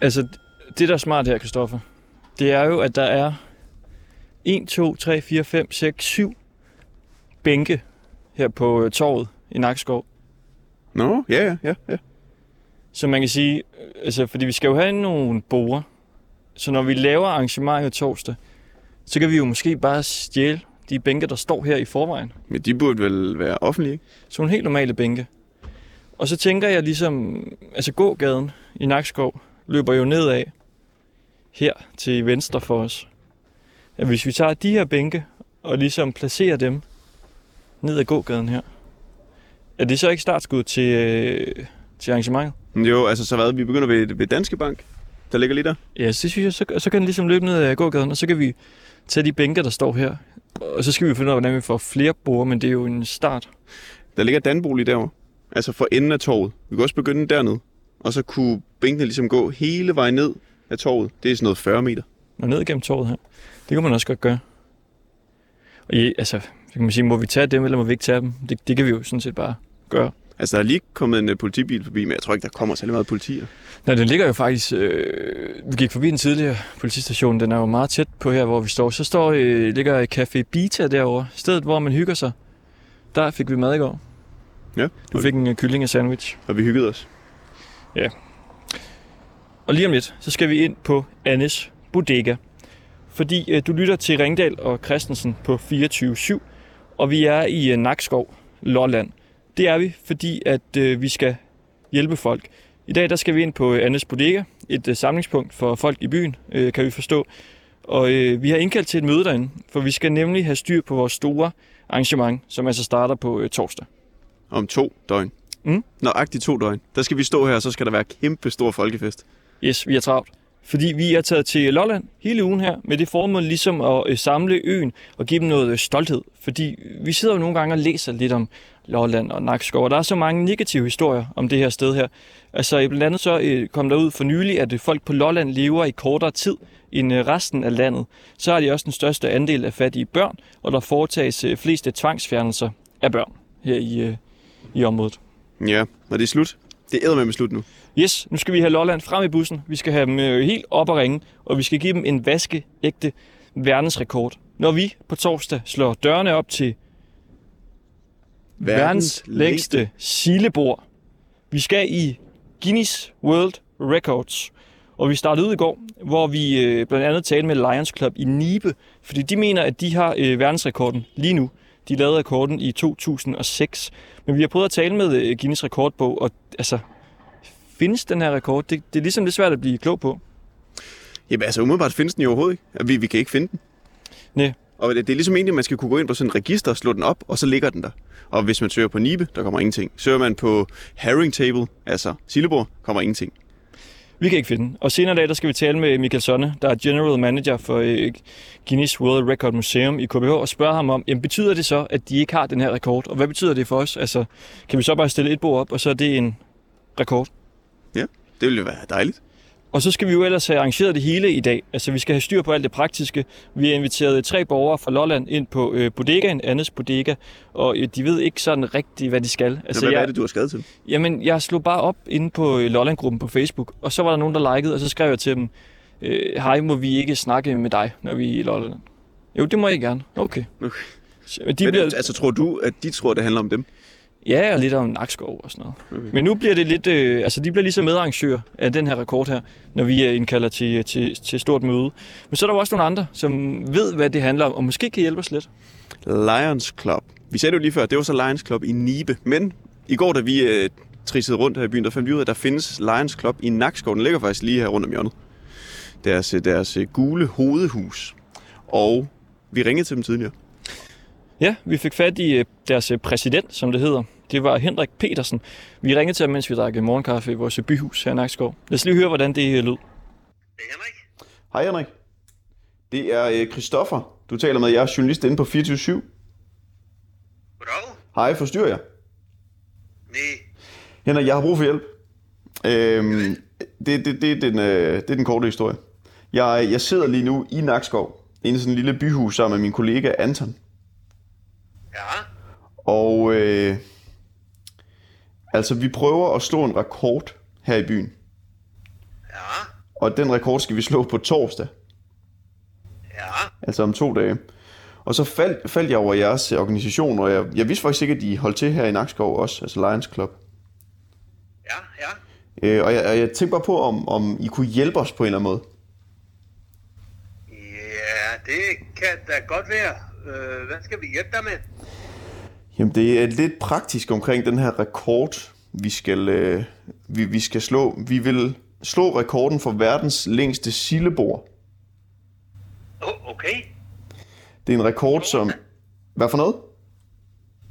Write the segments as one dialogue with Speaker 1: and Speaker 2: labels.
Speaker 1: Altså, det der er smart her, Kristoffer, det er jo, at der er 1, 2, 3, 4, 5, 6, 7 bænke her på øh, torvet i Nakskov.
Speaker 2: Nå, ja, ja, ja. ja.
Speaker 1: Så man kan sige, øh, altså, fordi vi skal jo have nogle borer. Så når vi laver arrangementet torsdag, så kan vi jo måske bare stjæle de bænke, der står her i forvejen.
Speaker 2: Men de burde vel være offentlige, ikke?
Speaker 1: Så nogle helt normale bænke. Og så tænker jeg ligesom, altså gågaden i Nakskov løber jo nedad her til venstre for os. At hvis vi tager de her bænke og ligesom placerer dem ned ad gågaden her, er det så ikke startskud til, øh, til arrangementet?
Speaker 2: Men Jo, altså så hvad, vi begynder ved, ved Danske Bank, der ligger lige der.
Speaker 1: Ja, så synes jeg, så, så kan den ligesom løbe ned ad gågaden, og så kan vi tage de bænke, der står her. Og så skal vi finde ud af, hvordan vi får flere borde, men det er jo en start.
Speaker 2: Der ligger Danbo lige derovre. Altså for enden af torvet. Vi kan også begynde dernede. Og så kunne bænkene ligesom gå hele vejen ned af torvet. Det er sådan noget 40 meter.
Speaker 1: og ned gennem torvet her. Det kan man også godt gøre. Og ja, altså, så kan man sige, må vi tage dem, eller må vi ikke tage dem? Det, det kan vi jo sådan set bare gøre.
Speaker 2: Altså der er lige kommet en øh, politibil forbi, men jeg tror ikke, der kommer særlig meget politier.
Speaker 1: Nej, den ligger jo faktisk... Øh, vi gik forbi den tidligere politistation. Den er jo meget tæt på her, hvor vi står. Så står, øh, ligger Café Bita derovre. Stedet, hvor man hygger sig. Der fik vi mad i går.
Speaker 2: Ja,
Speaker 1: Du fik en øh, kylling og sandwich.
Speaker 2: og vi hyggede os.
Speaker 1: Og lige om lidt, så skal vi ind på Annes Bodega. Fordi øh, du lytter til Ringdal og Christensen på 24-7, og vi er i øh, Nakskov, Lolland. Det er vi, fordi at øh, vi skal hjælpe folk. I dag der skal vi ind på øh, Annes Bodega, et øh, samlingspunkt for folk i byen, øh, kan vi forstå. Og øh, vi har indkaldt til et møde derinde, for vi skal nemlig have styr på vores store arrangement, som altså starter på øh, torsdag.
Speaker 2: Om to døgn.
Speaker 1: Mm.
Speaker 2: Nøjagtigt to døgn. Der skal vi stå her, og så skal der være kæmpe stor folkefest.
Speaker 1: Yes, vi er travlt. Fordi vi er taget til Lolland hele ugen her, med det formål ligesom at øh, samle øen og give dem noget øh, stolthed. Fordi vi sidder jo nogle gange og læser lidt om Lolland og Nakskov, og der er så mange negative historier om det her sted her. Altså øh, blandt andet så øh, kom der ud for nylig, at øh, folk på Lolland lever i kortere tid end øh, resten af landet. Så har de også den største andel af fattige børn, og der foretages øh, fleste tvangsfjernelser af børn her i, øh, i området.
Speaker 2: Ja, og det er slut. Det er med slut nu.
Speaker 1: Yes, nu skal vi have Lolland frem i bussen. Vi skal have dem øh, helt op og ringe, og vi skal give dem en vaskeægte verdensrekord. Når vi på torsdag slår dørene op til verdens, verdens længste sillebord. Vi skal i Guinness World Records. Og vi startede ud i går, hvor vi øh, blandt andet talte med Lions Club i Nibe, fordi de mener, at de har øh, verdensrekorden lige nu. De lavede rekorden i 2006. Men vi har prøvet at tale med øh, Guinness rekordbog, og altså, findes den her rekord? Det, det er ligesom lidt svært at blive klog på.
Speaker 2: Jamen altså umiddelbart findes den jo overhovedet ikke. Altså, Vi, vi kan ikke finde den.
Speaker 1: Næ.
Speaker 2: Og det, det er ligesom egentlig, at man skal kunne gå ind på sådan et register og slå den op, og så ligger den der. Og hvis man søger på Nibe, der kommer ingenting. Søger man på Herring Table, altså Silleborg, kommer ingenting.
Speaker 1: Vi kan ikke finde den. Og senere i dag, der skal vi tale med Michael Sonne, der er General Manager for øh, Guinness World Record Museum i KBH, og spørge ham om, jamen, betyder det så, at de ikke har den her rekord? Og hvad betyder det for os? Altså, kan vi så bare stille et bord op, og så er det en rekord?
Speaker 2: Det ville jo være dejligt.
Speaker 1: Og så skal vi jo ellers have arrangeret det hele i dag. Altså, vi skal have styr på alt det praktiske. Vi har inviteret tre borgere fra Lolland ind på øh, bodegaen, Andes Bodega, og øh, de ved ikke sådan rigtigt, hvad de skal.
Speaker 2: Altså, hvad, jeg... hvad er det, du har skrevet til?
Speaker 1: Jamen, jeg slog bare op inde på øh, Lollandgruppen på Facebook, og så var der nogen, der likede, og så skrev jeg til dem, øh, hej, må vi ikke snakke med dig, når vi er i Lolland? Jo, det må jeg gerne. Okay.
Speaker 2: Okay.
Speaker 1: Så, men de
Speaker 2: De
Speaker 1: bliver,
Speaker 2: bliver... Altså tror du, at de tror, det handler om dem?
Speaker 1: Ja, og lidt om Nakskov og sådan noget.
Speaker 2: Okay.
Speaker 1: Men nu bliver det lidt, øh, altså de bliver ligesom medarrangører af den her rekord her, når vi øh, indkalder til, til, til stort møde. Men så er der jo også nogle andre, som ved, hvad det handler om, og måske kan hjælpe os lidt.
Speaker 2: Lions Club. Vi sagde det jo lige før, det var så Lions Club i Nibe. Men i går, da vi øh, trissede rundt her i byen, der fandt vi ud af, at der findes Lions Club i Nakskov. Den ligger faktisk lige her rundt om hjørnet. Deres, øh, deres øh, gule hovedhus. Og vi ringede til dem tidligere.
Speaker 1: Ja, vi fik fat i øh, deres øh, præsident, som det hedder. Det var Henrik Petersen. Vi ringede til ham, mens vi drak øh, morgenkaffe i vores øh, byhus her i Nakskov. Lad os lige høre, hvordan det øh, lød.
Speaker 3: Det er Henrik.
Speaker 2: Hej Henrik. Det er øh, Christoffer, du taler med. Jeg er journalist inde på 24
Speaker 3: Goddag.
Speaker 2: Hej, forstyrrer jeg?
Speaker 3: Nej,
Speaker 2: Henrik, jeg har brug for hjælp. Øhm, det, det, det, er den, øh, det er den korte historie. Jeg, jeg sidder lige nu i Nakskov, inde i sådan en lille byhus sammen med min kollega Anton.
Speaker 3: ja.
Speaker 2: Og øh, altså, vi prøver at slå en rekord her i byen.
Speaker 3: Ja.
Speaker 2: Og den rekord skal vi slå på torsdag,
Speaker 3: Ja,
Speaker 2: altså om to dage. Og så faldt, faldt jeg over jeres organisation, og jeg, jeg vidste faktisk ikke, at I holdt til her i Nakskov også, altså Lions Club.
Speaker 3: ja, ja.
Speaker 2: Øh, og, jeg, og jeg tænkte bare på, om, om I kunne hjælpe os på en eller anden måde.
Speaker 3: Ja, det kan da godt være. Øh, hvad skal vi hjælpe dig med?
Speaker 2: Jamen, det er lidt praktisk omkring den her rekord, vi skal, øh, vi, vi skal slå. Vi vil slå rekorden for verdens længste sillebord.
Speaker 3: Oh, okay.
Speaker 2: Det er en rekord, som... Hvad for noget?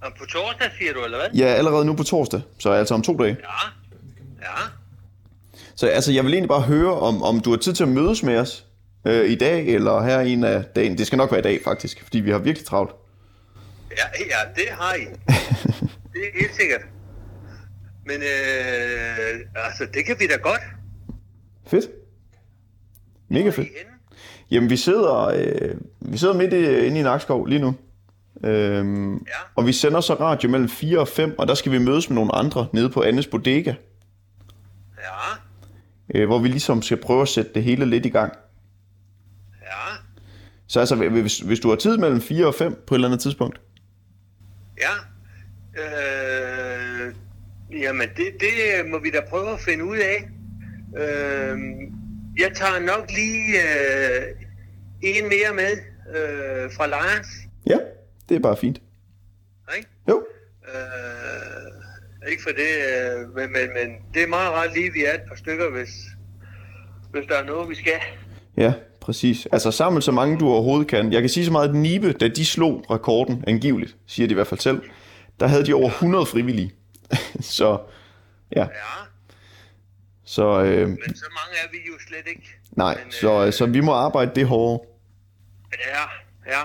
Speaker 3: Og på torsdag, siger du, eller hvad?
Speaker 2: Ja, allerede nu på torsdag, så altså om to dage.
Speaker 3: Ja, ja.
Speaker 2: Så altså, jeg vil egentlig bare høre, om, om du har tid til at mødes med os øh, i dag, eller her en af dagen. Det skal nok være i dag, faktisk, fordi vi har virkelig travlt.
Speaker 3: Ja, ja, det har I. Det er helt sikkert. Men øh, altså, det kan vi da godt.
Speaker 2: Fedt. Mega fedt.
Speaker 3: Henne.
Speaker 2: Jamen, vi sidder, øh, vi sidder midt i, inde i Nakskov lige nu. Øhm, ja. Og vi sender så radio mellem 4 og 5, og der skal vi mødes med nogle andre nede på Annes Bodega,
Speaker 3: Ja,
Speaker 2: øh, hvor vi ligesom skal prøve at sætte det hele lidt i gang.
Speaker 3: ja,
Speaker 2: Så altså, hvis, hvis du har tid mellem 4 og 5 på et eller andet tidspunkt.
Speaker 3: ja. Øh, jamen, det, det må vi da prøve at finde ud af. Øh, jeg tager nok lige øh, en mere med øh, fra Lions.
Speaker 2: Ja, det er bare fint.
Speaker 3: Ikke?
Speaker 2: Jo,
Speaker 3: Øh, ikke for det, øh, men, men, men det er meget rart lige, at vi er et par stykker, hvis, hvis der er noget, vi skal.
Speaker 2: ja, præcis. Altså, samle så mange du overhovedet kan. Jeg kan sige så meget, at Nibe, da de slog rekorden, angiveligt, siger de i hvert fald selv, der havde de over 100 frivillige. så, ja,
Speaker 3: Ja,
Speaker 2: så... Øh,
Speaker 3: men så mange er vi jo slet ikke.
Speaker 2: Nej,
Speaker 3: Men,
Speaker 2: så,
Speaker 3: øh,
Speaker 2: så vi må arbejde det hårdere.
Speaker 3: Ja, ja.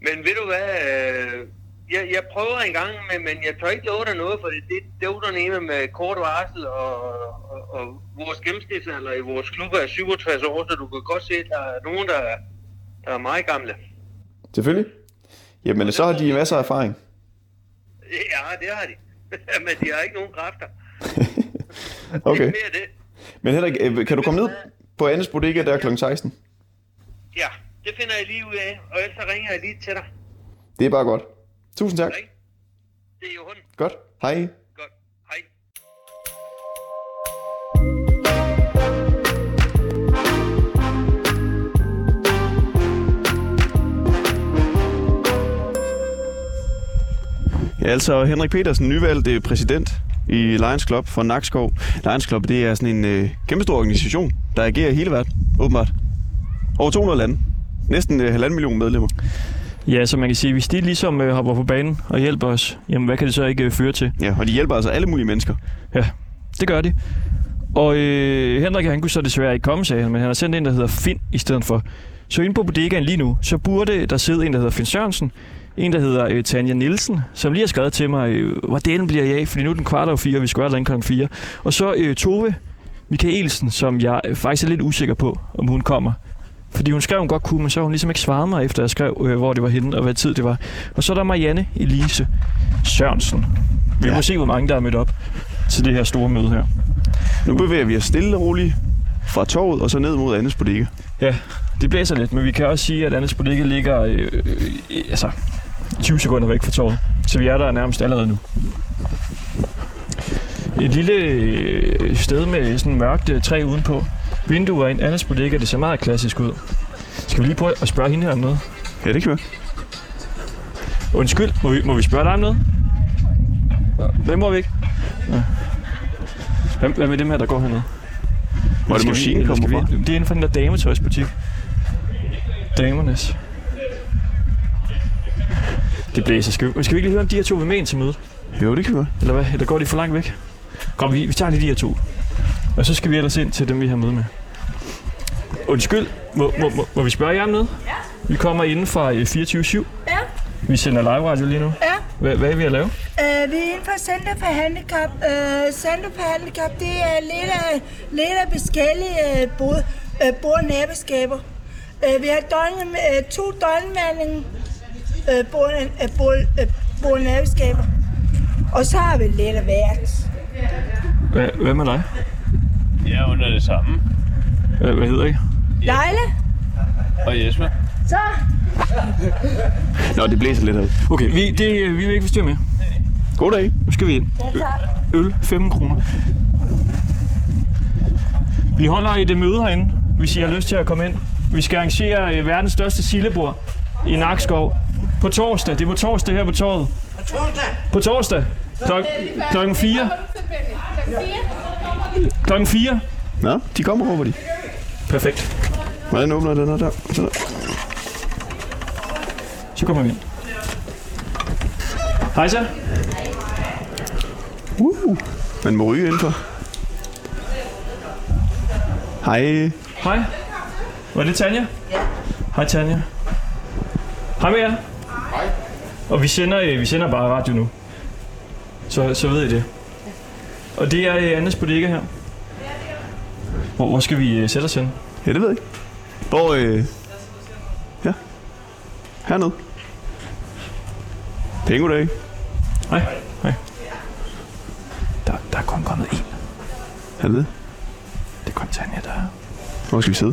Speaker 3: Men ved du hvad, øh, jeg, jeg prøver en gang, men, men jeg tør ikke love dig noget, for det, det, det er nemme med kort varsel, og, og, og vores gennemsnitsalder i vores klub er 67 år, så du kan godt se, at der er nogen, der, er- der er meget gamle.
Speaker 2: Selvfølgelig. Jamen, så har de masser af erfaring.
Speaker 3: Ja, det har de. Men de har ikke nogen kræfter.
Speaker 2: Okay.
Speaker 3: Ikke mere det.
Speaker 2: Men Henrik, øh, kan du komme ned på Andes Bodega der kl. 16?
Speaker 3: Ja, det finder jeg lige ud af, og ellers så ringer jeg lige til dig.
Speaker 2: Det er bare godt. Tusind tak.
Speaker 3: Ikke? Det er jo hunden.
Speaker 2: Godt. Hej.
Speaker 3: Godt. Hej.
Speaker 2: Ja, altså Henrik Petersen, nyvalgt øh, præsident i Lions Club for Nakskov. Lions Club, det er sådan en øh, kæmpestor organisation, der agerer i hele verden, åbenbart. Over 200 lande. Næsten øh, halvanden million medlemmer.
Speaker 1: Ja, så man kan sige, hvis de ligesom øh, hopper på banen og hjælper os, jamen hvad kan det så ikke øh, føre til?
Speaker 2: Ja, og de hjælper altså alle mulige mennesker.
Speaker 1: Ja, det gør de. Og øh, Henrik, han kunne så desværre ikke komme, sagde han, men han har sendt en, der hedder Finn i stedet for. Så inde på bodegaen lige nu, så burde der sidde en, der hedder Finn Sørensen, en, der hedder øh, Tanja Nielsen, som lige har skrevet til mig, øh, hvor delen bliver jeg af, fordi nu er den kvart over fire, og vi skal være derinde kl. fire. Og så øh, Tove Michaelsen, som jeg øh, faktisk er lidt usikker på, om hun kommer. Fordi hun skrev, hun godt kunne, men så har hun ligesom ikke svaret mig, efter jeg skrev, øh, hvor det var henne og hvad tid det var. Og så er der Marianne Elise Sørensen. Vi ja.
Speaker 2: Ja.
Speaker 1: må se, hvor mange der er mødt op til det her store møde her.
Speaker 2: Nu bevæger vi os stille og roligt fra toget og så ned mod Andes Bodega.
Speaker 1: Ja, det blæser lidt, men vi kan også sige, at Anders Bodega ligger øh, øh, altså 20 sekunder væk fra torvet. Så vi er der nærmest allerede nu. Et lille øh, sted med sådan mørkt øh, træ udenpå. Vinduer ind. Anders Bodega, det ser meget klassisk ud. Skal vi lige prøve at spørge hende her om noget?
Speaker 2: Ja, det kan vi.
Speaker 1: Undskyld, må vi, må vi spørge dig om noget? Hvem må vi ikke? Nå. Hvem, hvad med dem her, der går hernede?
Speaker 2: Hvor er det
Speaker 1: Skal vi-
Speaker 2: musikken
Speaker 1: eller skal
Speaker 2: kommer fra?
Speaker 1: vi- Det er inden for den der dametøjsbutik. Damernes. Det blæser. Skal vi, skal vi ikke lige høre, om de her to vil med ind til mødet?
Speaker 2: Jo, det kan vi godt.
Speaker 1: Eller hvad? Eller går de for langt væk? Kom, vi, vi tager lige de her to. Og så skal vi ellers ind til dem, vi har møde med. Undskyld, må, må, må, må vi spørge jer om noget? Ja. Vi kommer inden fra øh, 24-7.
Speaker 4: Ja.
Speaker 1: Vi sender live radio lige nu.
Speaker 4: Ja,
Speaker 1: Hvad, hvad er vi at lave?
Speaker 4: øh, vi er inde for Center for Handicap. Øh, Center for Handicap, det er lidt af, lidt af forskellige øh, bod, øh, bord- og naboskaber. Øh, vi har døgn, øh, to døgnmanding øh, bord, øh, bord, øh, bord- og naboskaber. Og så har vi lidt af hvert.
Speaker 1: Hvad, hvad med dig?
Speaker 5: Jeg er under det samme.
Speaker 1: Eller hvad hedder I?
Speaker 4: Leila,
Speaker 5: Og Jesper.
Speaker 4: så
Speaker 2: Nå, det blæser lidt af.
Speaker 1: Okay, vi, det, øh, vi vil ikke forstyrre mere.
Speaker 2: God dag.
Speaker 1: Nu skal vi ind. Øl, 5 kroner. Vi holder et øh, møde herinde, hvis I har lyst til at komme ind. Vi skal arrangere øh, verdens største sillebord i Nakskov på torsdag. Det er på torsdag her på torvet. På torsdag? På torsdag. Klok- klokken 4. Klokken 4.
Speaker 2: Nå, de kommer, råber de.
Speaker 1: Perfekt.
Speaker 2: Hvordan åbner den her der? Sådan der.
Speaker 1: Så kommer vi ind. Hej så.
Speaker 2: Uh, man må ryge indenfor. Hej.
Speaker 1: Hej. Var det Tanja? Ja. Hej Tanja. Hej med jer. Hej. Og vi sender, øh, vi sender bare radio nu. Så, så ved I det. Og det er øh, Annes bodega her. Hvor, hvor skal vi øh, sætte os hen?
Speaker 2: Ja, det ved jeg ikke. Hvor, øh... Ja. Hernede. Penge goddag.
Speaker 1: Hej. Hej. Der, der er kun kommet en.
Speaker 2: Er det det?
Speaker 1: Det er kun Tanja, der er.
Speaker 2: Hvor skal vi sidde?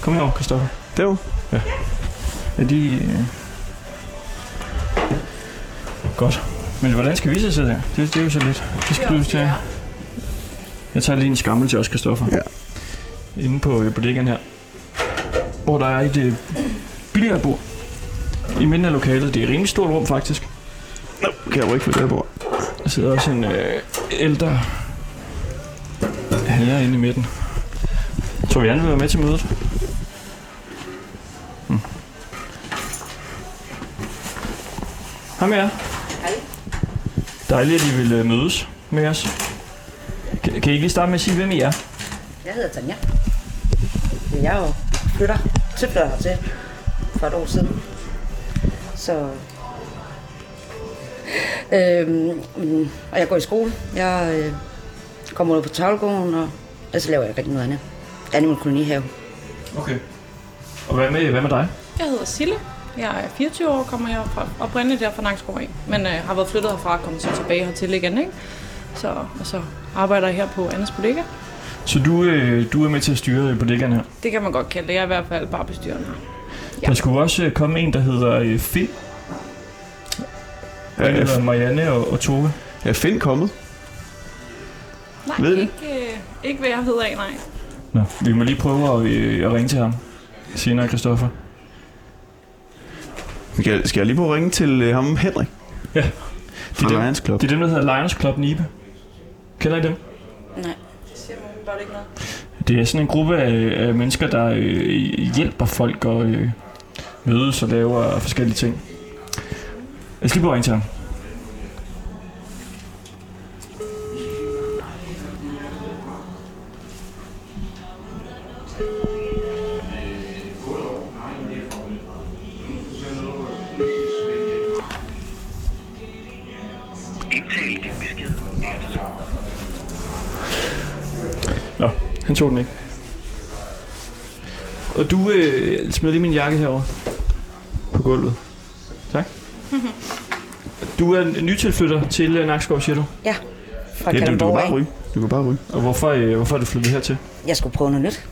Speaker 1: Kom herover, Kristoffer.
Speaker 2: Derovre.
Speaker 1: Er de... Øh... Godt. Men hvordan skal vi så sidde her? Det, det er jo så lidt. Det skal du til. Jeg tager lige en skammel til os, Kristoffer.
Speaker 2: Ja.
Speaker 1: Inde på øh, bodegaen her. Hvor der er et øh, billiardbord. I midten af lokalet. Det er et rimelig stort rum, faktisk.
Speaker 2: Kan jeg rykke for det her bord?
Speaker 1: Der sidder også en øh, ældre herre inde i midten. Tror vi, han vil være med til mødet? Hmm. Hej med jer. Hej. Dejligt, at I vil øh, mødes med os. Kan, kan I ikke lige starte med at sige, hvem I er?
Speaker 6: Jeg hedder Tanja. Men jeg er jo flytter, tilflytter hertil for et år siden. Så... Øhm, mm, og jeg går i skole. Jeg øh, kommer ud på tavlegården, og, og så laver jeg ikke rigtig noget andet. Jeg er i min kolonihave.
Speaker 1: Okay. Og hvad med, hvad med dig?
Speaker 7: Jeg hedder Sille. Jeg er 24 år, kommer jeg fra, oprindeligt der fra Nakskov af, men øh, har været flyttet herfra og kommet så tilbage hertil igen, ikke? Så, og så arbejder jeg her på Anders Bodega.
Speaker 1: Så du, øh, du er med til at styre øh, bodegaen her.
Speaker 7: Det kan man godt kalde det. Jeg er i hvert fald bare bestyrende her.
Speaker 1: Ja. Der skulle også øh, komme en, der hedder øh, Finn.
Speaker 2: Ja,
Speaker 1: Ja,
Speaker 2: ja.
Speaker 1: hedder Marianne og, og Tove.
Speaker 2: Er Finn kommet?
Speaker 7: Nej,
Speaker 2: Ved I det?
Speaker 7: ikke, øh, ikke hvad jeg hedder af, nej.
Speaker 1: Nå, vi må lige prøve at, øh, at ringe til ham senere, Christoffer.
Speaker 2: Skal jeg, skal jeg lige prøve at ringe til øh, ham Henrik?
Speaker 1: Ja.
Speaker 2: Fra
Speaker 1: Det er dem.
Speaker 2: Lions Club.
Speaker 1: Det er dem, der hedder Lions Club Nibe. Kender I dem?
Speaker 6: Nej.
Speaker 1: Det er sådan en gruppe af, af mennesker, der øh, hjælper folk og øh, mødes og laver forskellige ting. Jeg skal lige prøve at ringe til ham.
Speaker 3: Indtal din besked.
Speaker 1: Nå, han tog den ikke. Og du øh, smed lige min jakke herover på gulvet. Tak. Du er en nytilflytter til øh, Nakskov, siger du.
Speaker 6: Ja,
Speaker 2: Ja,
Speaker 6: fra
Speaker 2: du, du kan
Speaker 6: Kalundborg
Speaker 2: bare
Speaker 6: af.
Speaker 2: ryge. Du kan bare ryge.
Speaker 1: Og hvorfor, øh, hvorfor er du flyttet hertil?
Speaker 6: Jeg skulle prøve noget nyt.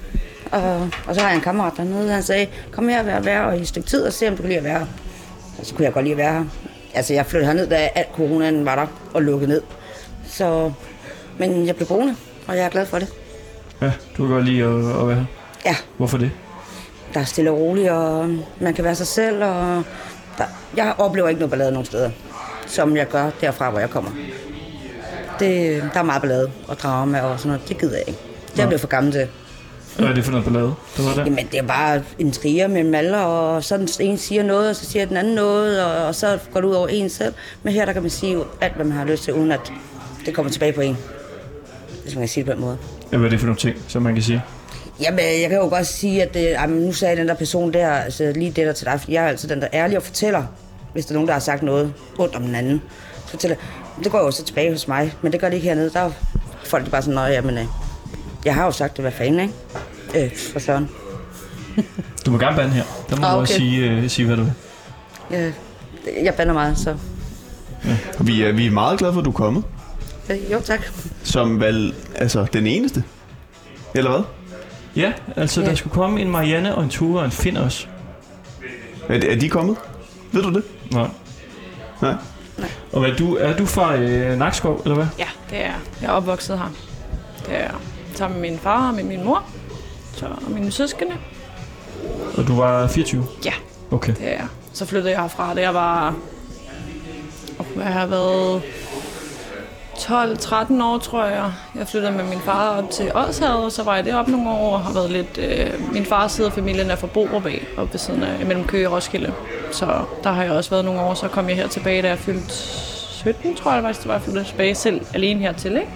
Speaker 6: Og, og så har jeg en kammerat dernede, han sagde, kom her og vær, vær og i et stykke tid og se, om du kan lide at være her. Og så kunne jeg godt lide at være her. Altså, jeg flyttede herned, da alt coronaen var der og lukkede ned. Så, men jeg blev boende, og jeg er glad for det.
Speaker 1: Ja, du kan godt lide at, at være her.
Speaker 6: Ja,
Speaker 1: Hvorfor det?
Speaker 6: der er stille og roligt, og man kan være sig selv, og der, jeg oplever ikke noget ballade nogen steder, som jeg gør derfra, hvor jeg kommer. Det, der er meget ballade og drama og sådan noget, det gider jeg ikke. Det er jeg blevet for gammel til.
Speaker 1: Hvad er det for noget ballade, der var der?
Speaker 6: Jamen, det er bare intriger mellem alle, og sådan en siger noget, og så siger den anden noget, og, og så går det ud over en selv. Men her, der kan man sige alt, hvad man har lyst til, uden at det kommer tilbage på en. Hvis man kan sige det på den måde.
Speaker 1: Ja, hvad er det for nogle ting, som man kan sige?
Speaker 6: Jamen, jeg kan jo godt sige, at øh, jamen, nu sagde den der person der, altså lige det der til dig, for jeg er altid den, der er ærlig og fortæller, hvis der er nogen, der har sagt noget ondt om den anden. Så fortæller, jeg, det går jo så tilbage hos mig, men det gør det ikke hernede. Der er folk der bare sådan, nej, jamen, øh, jeg har jo sagt det, hvad fanden, ikke? Øh, for søren.
Speaker 1: Du må gerne bande her. Der må
Speaker 6: Ah,
Speaker 1: du også
Speaker 6: okay.
Speaker 1: sige, øh, sige, hvad du vil.
Speaker 6: Øh, Jeg, jeg bander meget, så
Speaker 2: Vi er, vi er meget glade for, at du er kommet.
Speaker 6: Øh, jo, tak.
Speaker 2: Som vel, altså den eneste? Eller hvad?
Speaker 1: Ja, altså
Speaker 6: Ja.
Speaker 1: der skulle komme en Marianne og en Ture og en Finn også.
Speaker 2: Er, er de kommet? Ved du det?
Speaker 1: Nej.
Speaker 2: Nej.
Speaker 1: Og hvad, du, er du fra øh, Nakskov, eller hvad?
Speaker 7: Ja, det er jeg. Jeg er opvokset her. Det er jeg. Sammen med min far og med min mor. Så, og mine søskende.
Speaker 1: Og du var 24?
Speaker 7: Ja.
Speaker 1: Okay.
Speaker 7: Det er jeg. Så flyttede jeg herfra, da jeg var... Oh, hvad har jeg været? 12-13 år, tror jeg. Jeg flyttede med min far op til Ådshavet, og så var jeg deroppe nogle år og har været lidt... Øh, min fars side af familien er fra Borup af, oppe ved siden af, mellem Køge og Roskilde. Så der har jeg også været nogle år, så kom jeg her tilbage, da jeg fyldte 17, tror jeg faktisk, det var, jeg flyttede tilbage selv alene hertil, ikke?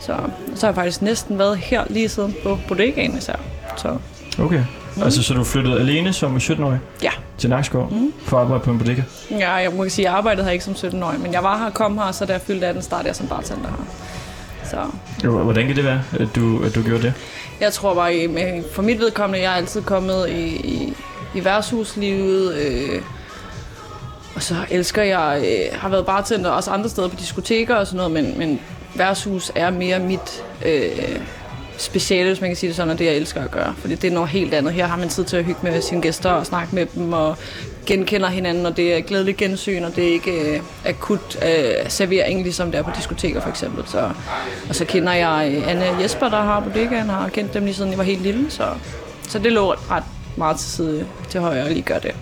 Speaker 7: Så, så har jeg faktisk næsten været her lige siden på bodegaen især. Så
Speaker 1: Okay. Altså, så du flyttede alene som 17-årig
Speaker 7: ja,
Speaker 1: til Nakskov mm. for at arbejde på en bodega?
Speaker 7: Ja, jeg må sige, jeg arbejdede her ikke som 17-årig, men jeg var her, kom her, og så da jeg fyldte 18, startede jeg som bartender her. Så
Speaker 1: Hvordan kan det være, at du, at du gjorde det?
Speaker 7: jeg tror bare, i- med- for mit vedkommende, jeg er altid kommet i, i, i værtshuslivet, øh, og så elsker jeg, øh, har været bartender også andre steder på diskoteker og sådan noget, men, men værtshus er mere mit øh, speciale, hvis man kan sige det sådan, og det jeg elsker at gøre. Fordi det er noget helt andet. Her har man tid til at hygge med sine gæster og snakke med dem og genkender hinanden, og det er glædeligt gensyn, og det er ikke øh, akut øh, servering, ligesom det er på diskoteker for eksempel. Så, og så kender jeg øh, Anne og Jesper, der har bodegaen, har kendt dem lige siden jeg var helt lille, så, så det lå ret meget til side til højre at lige gøre det.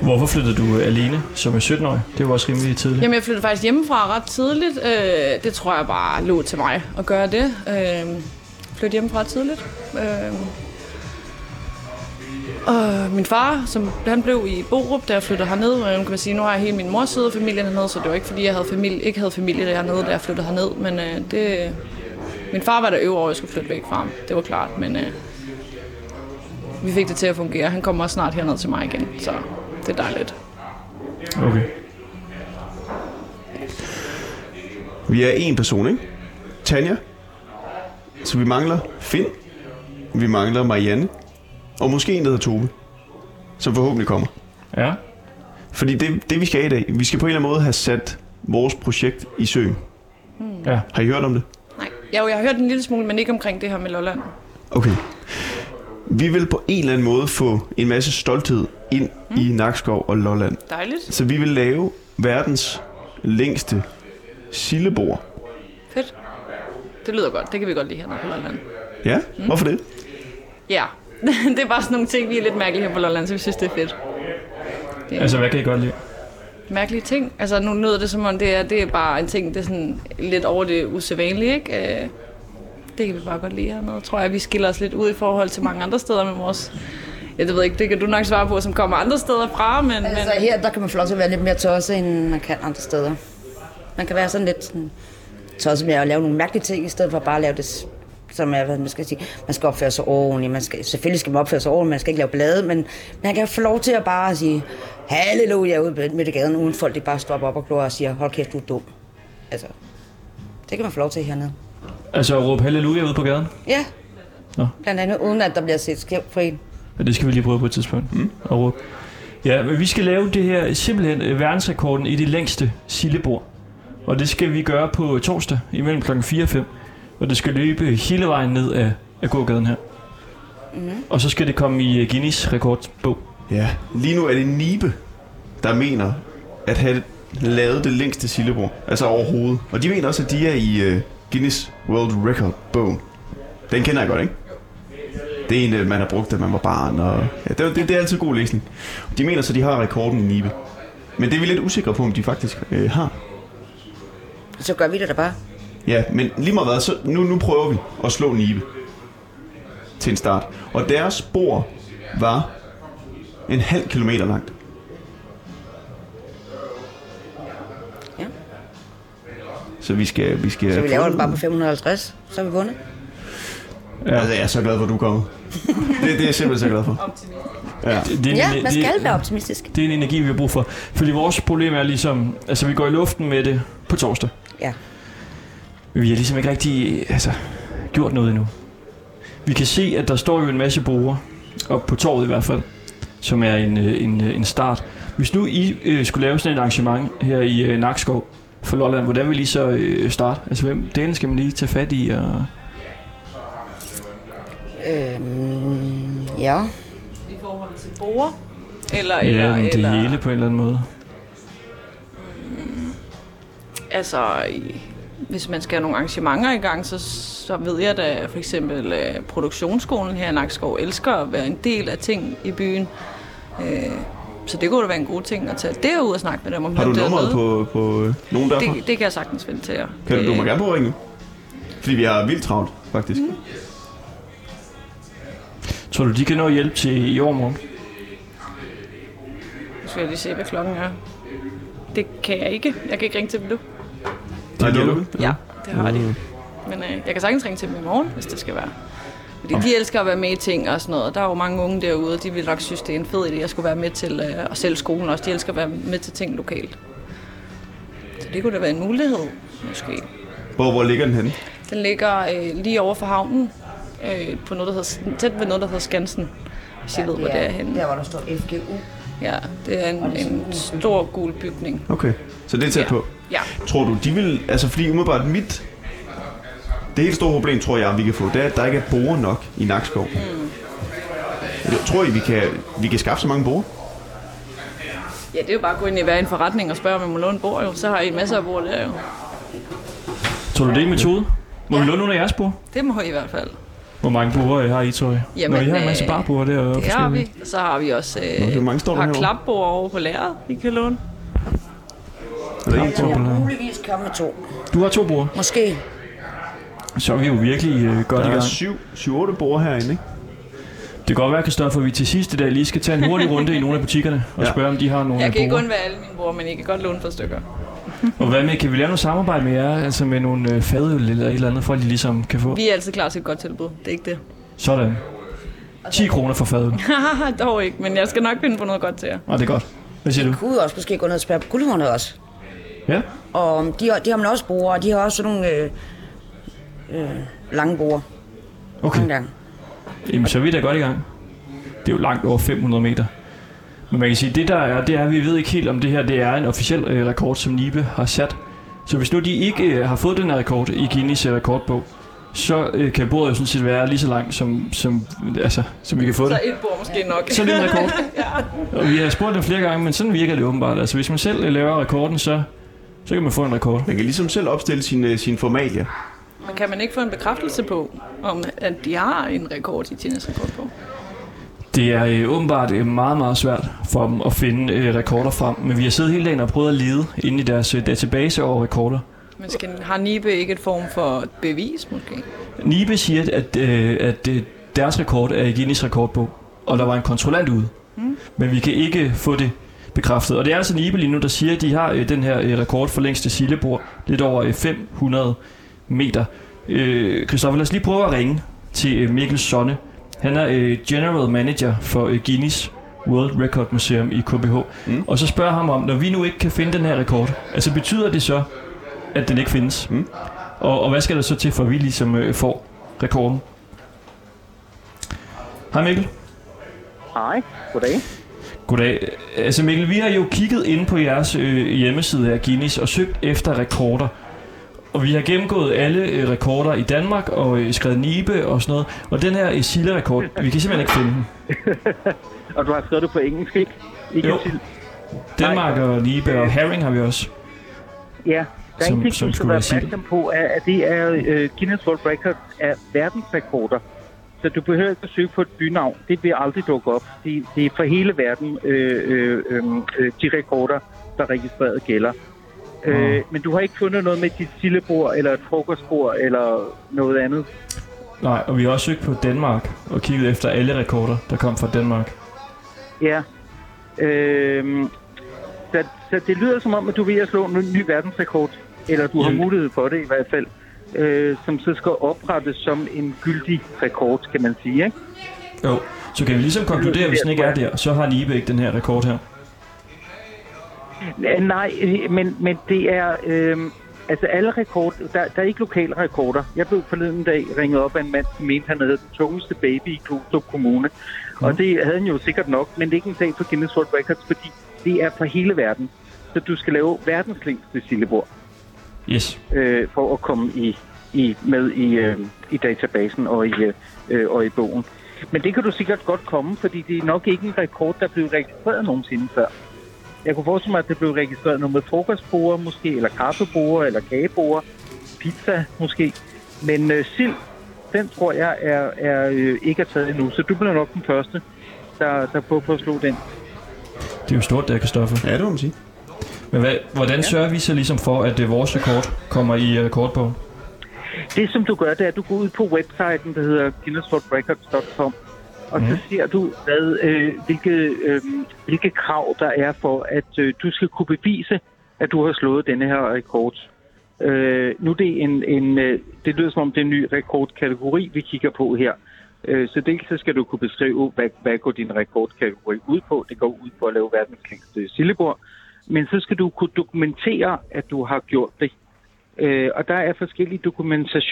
Speaker 1: Hvorfor flyttede du øh, alene som 17-årig? Det var også rimelig tidligt.
Speaker 7: Jamen, jeg flyttede faktisk hjemmefra ret tidligt. Øh, det tror jeg bare lå til mig at gøre det. Øh, flytte hjemmefra tidligt. Øh, og min far, som han blev i Borup, da jeg flyttede herned, og nu kan man sige, nu har jeg hele min mors side af familien hernede, så det var ikke fordi, jeg havde familie, ikke havde familie dernede, da jeg flyttede herned, men øh, det... Min far var der øver over, at jeg skulle flytte væk fra ham. Det var klart, men øh, vi fik det til at fungere. Han kommer også snart herned til mig igen, så det er dejligt.
Speaker 1: Okay.
Speaker 2: Vi er en person, ikke? Tanja. Så vi mangler Finn. Vi mangler Marianne. Og måske en, der hedder Tove. Som forhåbentlig kommer.
Speaker 1: Ja.
Speaker 2: Fordi det, det, vi skal i dag, vi skal på en eller anden måde have sat vores projekt i søen.
Speaker 1: Ja.
Speaker 2: Har I hørt om det?
Speaker 7: Nej, jeg, jeg har hørt en lille smule, men ikke omkring det her med Lolland.
Speaker 2: Okay. Vi vil på en eller anden måde få en masse stolthed ind mm. i Nakskov og Lolland.
Speaker 7: Dejligt.
Speaker 2: Så vi vil lave verdens længste sillebord.
Speaker 7: Fedt. Det lyder godt. Det kan vi godt lide hernede på Lolland.
Speaker 2: Ja, mm. hvorfor det?
Speaker 7: Ja, det er bare sådan nogle ting, vi er lidt mærkelige her på Lolland, så vi synes, det er fedt.
Speaker 1: Altså, hvad kan I godt lide?
Speaker 7: Mærkelige ting. Altså, nu lyder det som om, det er, det er bare en ting, det er sådan lidt over det usædvanlige, ikke? Øh, Det kan vi bare godt lide hernede. Tror jeg, vi skiller os lidt ud i forhold til mange andre steder med vores... Ja, det ved jeg ikke, det kan du nok svare på, som kommer andre steder fra, men...
Speaker 6: Altså
Speaker 7: men
Speaker 6: her, der kan man få lov til at være lidt mere tosset, end man kan andre steder. Man kan være sådan lidt sådan, tosset med at lave nogle mærkelige ting, i stedet for bare at lave det, s- som er, hvad man skal sige, man skal opføre sig ordentligt, man skal, selvfølgelig skal man opføre sig ordentligt, man skal ikke lave blade, men man kan få lov til at bare sige, halleluja, ude midt i gaden, uden folk de bare stopper op og glor og siger, hold kæft, du er dum. Altså, det kan man få lov til hernede.
Speaker 1: Altså, at råbe halleluja ude på gaden?
Speaker 6: Ja,
Speaker 1: Nå.
Speaker 6: blandt andet uden at der bliver set skævt på en.
Speaker 1: Ja, det skal vi lige prøve på et tidspunkt. Mm. Og råbe. Ja, men vi skal lave det her simpelthen øh, verdensrekorden i det længste sillebord. Og det skal vi gøre på torsdag imellem klokken 4 og 5. Og det skal løbe hele vejen ned af, af gågaden her. Mm. Og så skal det komme i øh, Guinness rekordbog.
Speaker 2: Ja, lige nu er det Nibe, der mener at have lavet det længste sillebord. Altså overhovedet. Og de mener også, at de er i uh, Guinness World Record-bogen. Den kender jeg godt, ikke? Det er en, øh, man har brugt, da man var barn. Og... Ja, det, det, det er altid god læsning. De mener så, de har rekorden i Nibe. Men det er vi lidt usikre på, om de faktisk øh, har.
Speaker 6: Så gør vi det da bare.
Speaker 2: Ja, men lige meget hvad, så nu, nu prøver vi at slå Nibe til en start. Og deres spor var en halv kilometer langt.
Speaker 6: Ja.
Speaker 2: Så vi skal... Vi skal
Speaker 6: Så vi laver det bare på 550, så er vi vundet.
Speaker 2: Ja. Altså, jeg er så glad for, at du er kommet. det, det er jeg simpelthen så glad for.
Speaker 1: Det, det, er en-
Speaker 6: Ja,
Speaker 1: det-
Speaker 6: man skal
Speaker 1: det,
Speaker 6: være optimistisk.
Speaker 1: det er en energi, vi har brug for. Fordi vores problem er ligesom, altså vi går i luften med det på torsdag.
Speaker 6: Ja.
Speaker 1: Men Vi har ligesom ikke rigtig øh, altså, gjort noget endnu. Vi kan se, at der står jo en masse brugere, op på torvet i hvert fald, som er en, øh, en, øh, en start. Hvis nu I øh, skulle lave sådan et arrangement her i øh, Nakskov, for Lolland. Hvordan vil I så øh, starte? Altså, hvem delen skal man lige tage fat i? Og...
Speaker 6: Øhm, ja.
Speaker 7: I forhold til borger? Eller,
Speaker 1: Ja,
Speaker 7: eller,
Speaker 1: men det
Speaker 7: eller,
Speaker 1: hele på en eller anden måde.
Speaker 7: Altså, i- hvis man skal have nogle arrangementer i gang, så, så ved jeg da for eksempel, at produktionsskolen her i Nakskov elsker at være en del af ting i byen. Øh, så det kunne da være en god ting at tage derud og snakke med dem om.
Speaker 2: Har du
Speaker 7: hvem der er
Speaker 2: nummeret
Speaker 7: med.
Speaker 2: på, på øh, nogen derfra?
Speaker 7: Det, det kan jeg sagtens finde til jer.
Speaker 2: Kan du, du må
Speaker 7: Øh,
Speaker 2: gerne på ringe. Fordi vi har vildt travlt, faktisk. Mm.
Speaker 1: Tror du, de kan nå hjælp til i år morgen?
Speaker 7: Nu skal jeg lige se, hvad klokken er. Det kan jeg ikke. Jeg kan ikke ringe til dem nu.
Speaker 2: Nej, det er
Speaker 1: lukket.
Speaker 2: lukket.
Speaker 7: Ja, det har de. Men øh, jeg kan sagtens ringe til dem i morgen, hvis det skal være. Fordi de elsker at være med i ting og sådan noget. Der er jo mange unge derude, og de vil nok synes, det er en fed idé at skulle være med til. Øh, og selv skolen også. De elsker at være med til ting lokalt. Så det kunne da være en mulighed, måske.
Speaker 2: Hvor, hvor ligger den henne?
Speaker 7: Den ligger øh, lige over for havnen. Øh, på noget, der hedder, tæt ved noget, der hedder Skansen. Hvis I ved, hvor det er henne.
Speaker 6: Der, hvor der står FGU.
Speaker 7: Ja, det er en, en stor gul bygning.
Speaker 2: Okay. Så det er tæt
Speaker 7: Ja.
Speaker 2: på.
Speaker 7: Ja.
Speaker 2: Tror du, de vil... Altså, fordi umiddelbart mit... Det helt store problem, tror jeg, vi kan få, det er, at der ikke er borer nok i Nakskov. Mm. Tror I, vi kan, vi kan skaffe så mange borer?
Speaker 7: Ja, det er jo bare at gå ind i hver en forretning og spørge, om man må låne bord, jo. Så har I masser af bord der, jo.
Speaker 1: Tror du, det er en metode? Må vi låne nogle af jeres bord?
Speaker 7: Det må I i hvert fald.
Speaker 1: Hvor mange burer øh, har I, tror jeg? Jamen,
Speaker 7: Jamen,
Speaker 1: Nå, I har en masse
Speaker 7: øh,
Speaker 1: barburer der. og
Speaker 7: Det har
Speaker 1: forskellige.
Speaker 7: vi. Så har vi også
Speaker 2: Nå, det er
Speaker 7: øh,
Speaker 2: mange, står der
Speaker 7: har
Speaker 2: herovre.
Speaker 7: klapbord over på lærret, I kan låne.
Speaker 2: Er der en, to?
Speaker 6: Jeg er muligvis kommet to.
Speaker 1: Du har to burer.
Speaker 6: Måske.
Speaker 1: Så er vi jo virkelig øh, godt i
Speaker 2: Der er
Speaker 1: gang.
Speaker 2: syv, syv, otte borer herinde, ikke?
Speaker 1: Det kan godt være, Kristoffer, at vi til sidst i dag lige skal tage en hurtig runde i nogle af butikkerne og
Speaker 2: Ja.
Speaker 1: spørge, om de har nogle
Speaker 7: Jeg kan ikke
Speaker 1: burer.
Speaker 7: undvære alle mine bord, men I kan godt låne et par stykker.
Speaker 1: Og hvad med, kan vi lave noget samarbejde med jer, altså med nogle øh, fadøl eller et eller andet, for at de ligesom kan få?
Speaker 7: Vi er altid klar til et godt tilbud. Det er ikke det.
Speaker 1: Sådan. 10 kroner for fadøl.
Speaker 7: Haha, dog ikke, men jeg skal nok finde på noget godt til jer.
Speaker 1: Og det er godt. Hvad siger du?
Speaker 6: Kunne også måske gå ned og spørge på guldhornet også.
Speaker 1: Ja?
Speaker 6: Og øhm, de, har- de har man også brugere, og de har også sådan nogle øh, øh, lange brugere. Mange
Speaker 1: Okay.
Speaker 6: gange.
Speaker 1: Jamen, så er vi da godt i gang. Det er jo langt over 500 meter. Men man kan sige, det der er, det er, at vi ved ikke helt, om det her det er en officiel øh, rekord, som Nibe har sat. Så hvis nu de ikke øh, har fået den her rekord i Guinness øh, rekordbog, så øh, kan bordet jo sådan set være lige så langt, som, som, altså, som vi kan få det.
Speaker 7: Så et bord måske nok.
Speaker 1: Så er det en rekord. Og vi har spurgt dem flere gange, men sådan virker det åbenbart. Altså, hvis man selv laver rekorden, så, så kan man få en rekord.
Speaker 2: Man kan ligesom selv opstille sine, sine formalier.
Speaker 7: Men kan man ikke få en bekræftelse på, om at de har en rekord i Tines rekord på?
Speaker 1: Det er øh, åbenbart øh, meget, meget svært for dem at finde øh, rekorder frem. Men vi har siddet hele dagen og prøvet at lede inde i deres øh, database over rekorder.
Speaker 7: Men skal, har Nibe ikke et form for bevis, måske?
Speaker 1: Nibe siger, at, øh, at øh, deres rekord er i Guinness rekordbog, og der var en kontrollant ude. Mm. Men vi kan ikke få det bekræftet. Og det er altså Nibe lige nu, der siger, at de har øh, den her øh, rekord for længste sillebord, lidt over øh, 500 meter. Øh, Christoffer, lad os lige prøve at ringe til øh, Mikkel Sonne. Han er øh, General Manager for øh, Guinness World Record Museum i KBH. Mm. Og så spørger ham om, når vi nu ikke kan finde den her rekord, altså betyder det så, at den ikke findes? Mm. Og, og hvad skal der så til, for at vi ligesom øh, får rekorden? Hej Mikkel.
Speaker 8: Hej, goddag.
Speaker 1: Goddag. Altså Mikkel, vi har jo kigget ind på jeres øh, hjemmeside af Guinness og søgt efter rekorder. Og vi har gennemgået alle øh, rekorder i Danmark og øh, skrevet Nibe og sådan noget. Og den her øh, Silla-rekord, vi kan simpelthen ikke finde den.
Speaker 8: Og du har skrevet det på engelsk, ikke? ikke
Speaker 1: Jo.
Speaker 8: til-
Speaker 1: Danmark og Nibe og Herring har vi også.
Speaker 8: Ja, der er
Speaker 1: Som-
Speaker 8: en ting,
Speaker 1: som
Speaker 8: du skal
Speaker 1: skulle
Speaker 8: være
Speaker 1: jeg sige det.
Speaker 8: opmærksom på, er, at det er øh, Guinness World Records er verdensrekorder. Så du behøver ikke at søge på et bynavn. Det vil aldrig dukke op. Det, det er for hele verden, øh, øh, øh, øh, de rekorder, der registreret gælder.
Speaker 5: Mm.
Speaker 8: Øh, men du har ikke fundet noget med dit sillebord, eller et frokostbord, eller noget andet.
Speaker 1: Nej, og vi har også søgt på Danmark og kigget efter alle rekorder, der kom fra Danmark.
Speaker 8: Ja. Øhm, så, så det lyder som om, at du er ved at slå en ny verdensrekord, eller du har
Speaker 1: Jamen.
Speaker 8: mulighed for det i hvert fald, øh, som så skal oprettes som en gyldig rekord, kan man sige. Ikke?
Speaker 1: Jo. Så kan vi ligesom konkludere, at hvis den ikke er der, så har Nibe ikke den her rekord her.
Speaker 8: N- Nej, øh, men, men det er... Øh, altså alle rekorder... Der, der er ikke lokale rekorder. Jeg blev forleden dag ringet op af en mand, som mente, han havde den tungeste baby i Klostrup Kommune. Og det havde han jo sikkert nok, men det er ikke en sag for Guinness World Records, fordi det er for hele verden. Så du skal lave verdens længste sillebord.
Speaker 1: Yes.
Speaker 8: øh, for at komme i, i, med i, øh, i databasen og i, øh, øh, og i bogen. Men det kan du sikkert godt komme, fordi det er nok ikke en rekord, der blev registreret nogensinde før. Jeg kunne forestille mig, at det blev registreret noget med frokostbord måske, eller kaffebord, eller kagebord, pizza måske. Men øh, sild, den tror jeg er, er øh, ikke er taget endnu, så du bliver nok den første, der, der prøver på at slå den.
Speaker 1: Det er jo stort, der, Kristoffer.
Speaker 2: Ja, det må man sige.
Speaker 1: Men hvad, hvordan sørger vi så ligesom for, at øh, vores rekord kommer i øh, rekordbogen?
Speaker 8: Det, som du gør, det er, at du går ud på websiten, der hedder guinnessworldrecords.com, og mm. så ser du, hvad, øh, hvilke, øh, hvilke krav der er for, at øh, du skal kunne bevise, at du har slået denne her rekord. Øh, nu er det en, en øh, det lyder som om det er en ny rekordkategori, vi kigger på her. Øh, så dels så skal du kunne beskrive, hvad, hvad går din rekordkategori ud på. Det går ud på at lave verdens længste sillebord. Men så skal du kunne dokumentere, at du har gjort det. Øh, og der er forskellige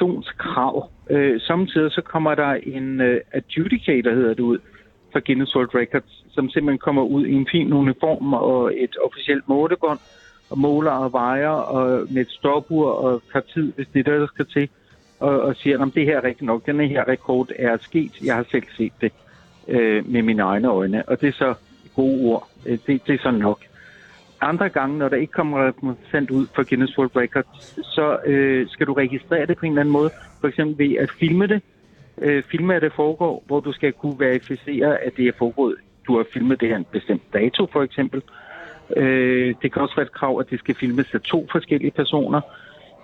Speaker 8: dokumentationskrav. Øh, samtidig så kommer der en øh, adjudicator, hedder det ud, fra Guinness World Records, som simpelthen kommer ud i en fin uniform og et officielt målebånd, og måler og vejer og med et stopur og tager tid, hvis det er det, der skal til, og, og siger, at det her er rigtigt nok, den her rekord er sket, jeg har selv set det øh, med mine egne øjne, og det er så gode ord, øh, det, det er så nok andre gange, når der ikke kommer repræsentant ud for Guinness World Records, så øh, skal du registrere det på en eller anden måde. For eksempel ved at filme det. Øh, filme, at det foregår, hvor du skal kunne verificere, at det er foregået. Du har filmet det her en bestemt dato, for eksempel. Øh, det kan også være et krav, at det skal filmes af to forskellige personer.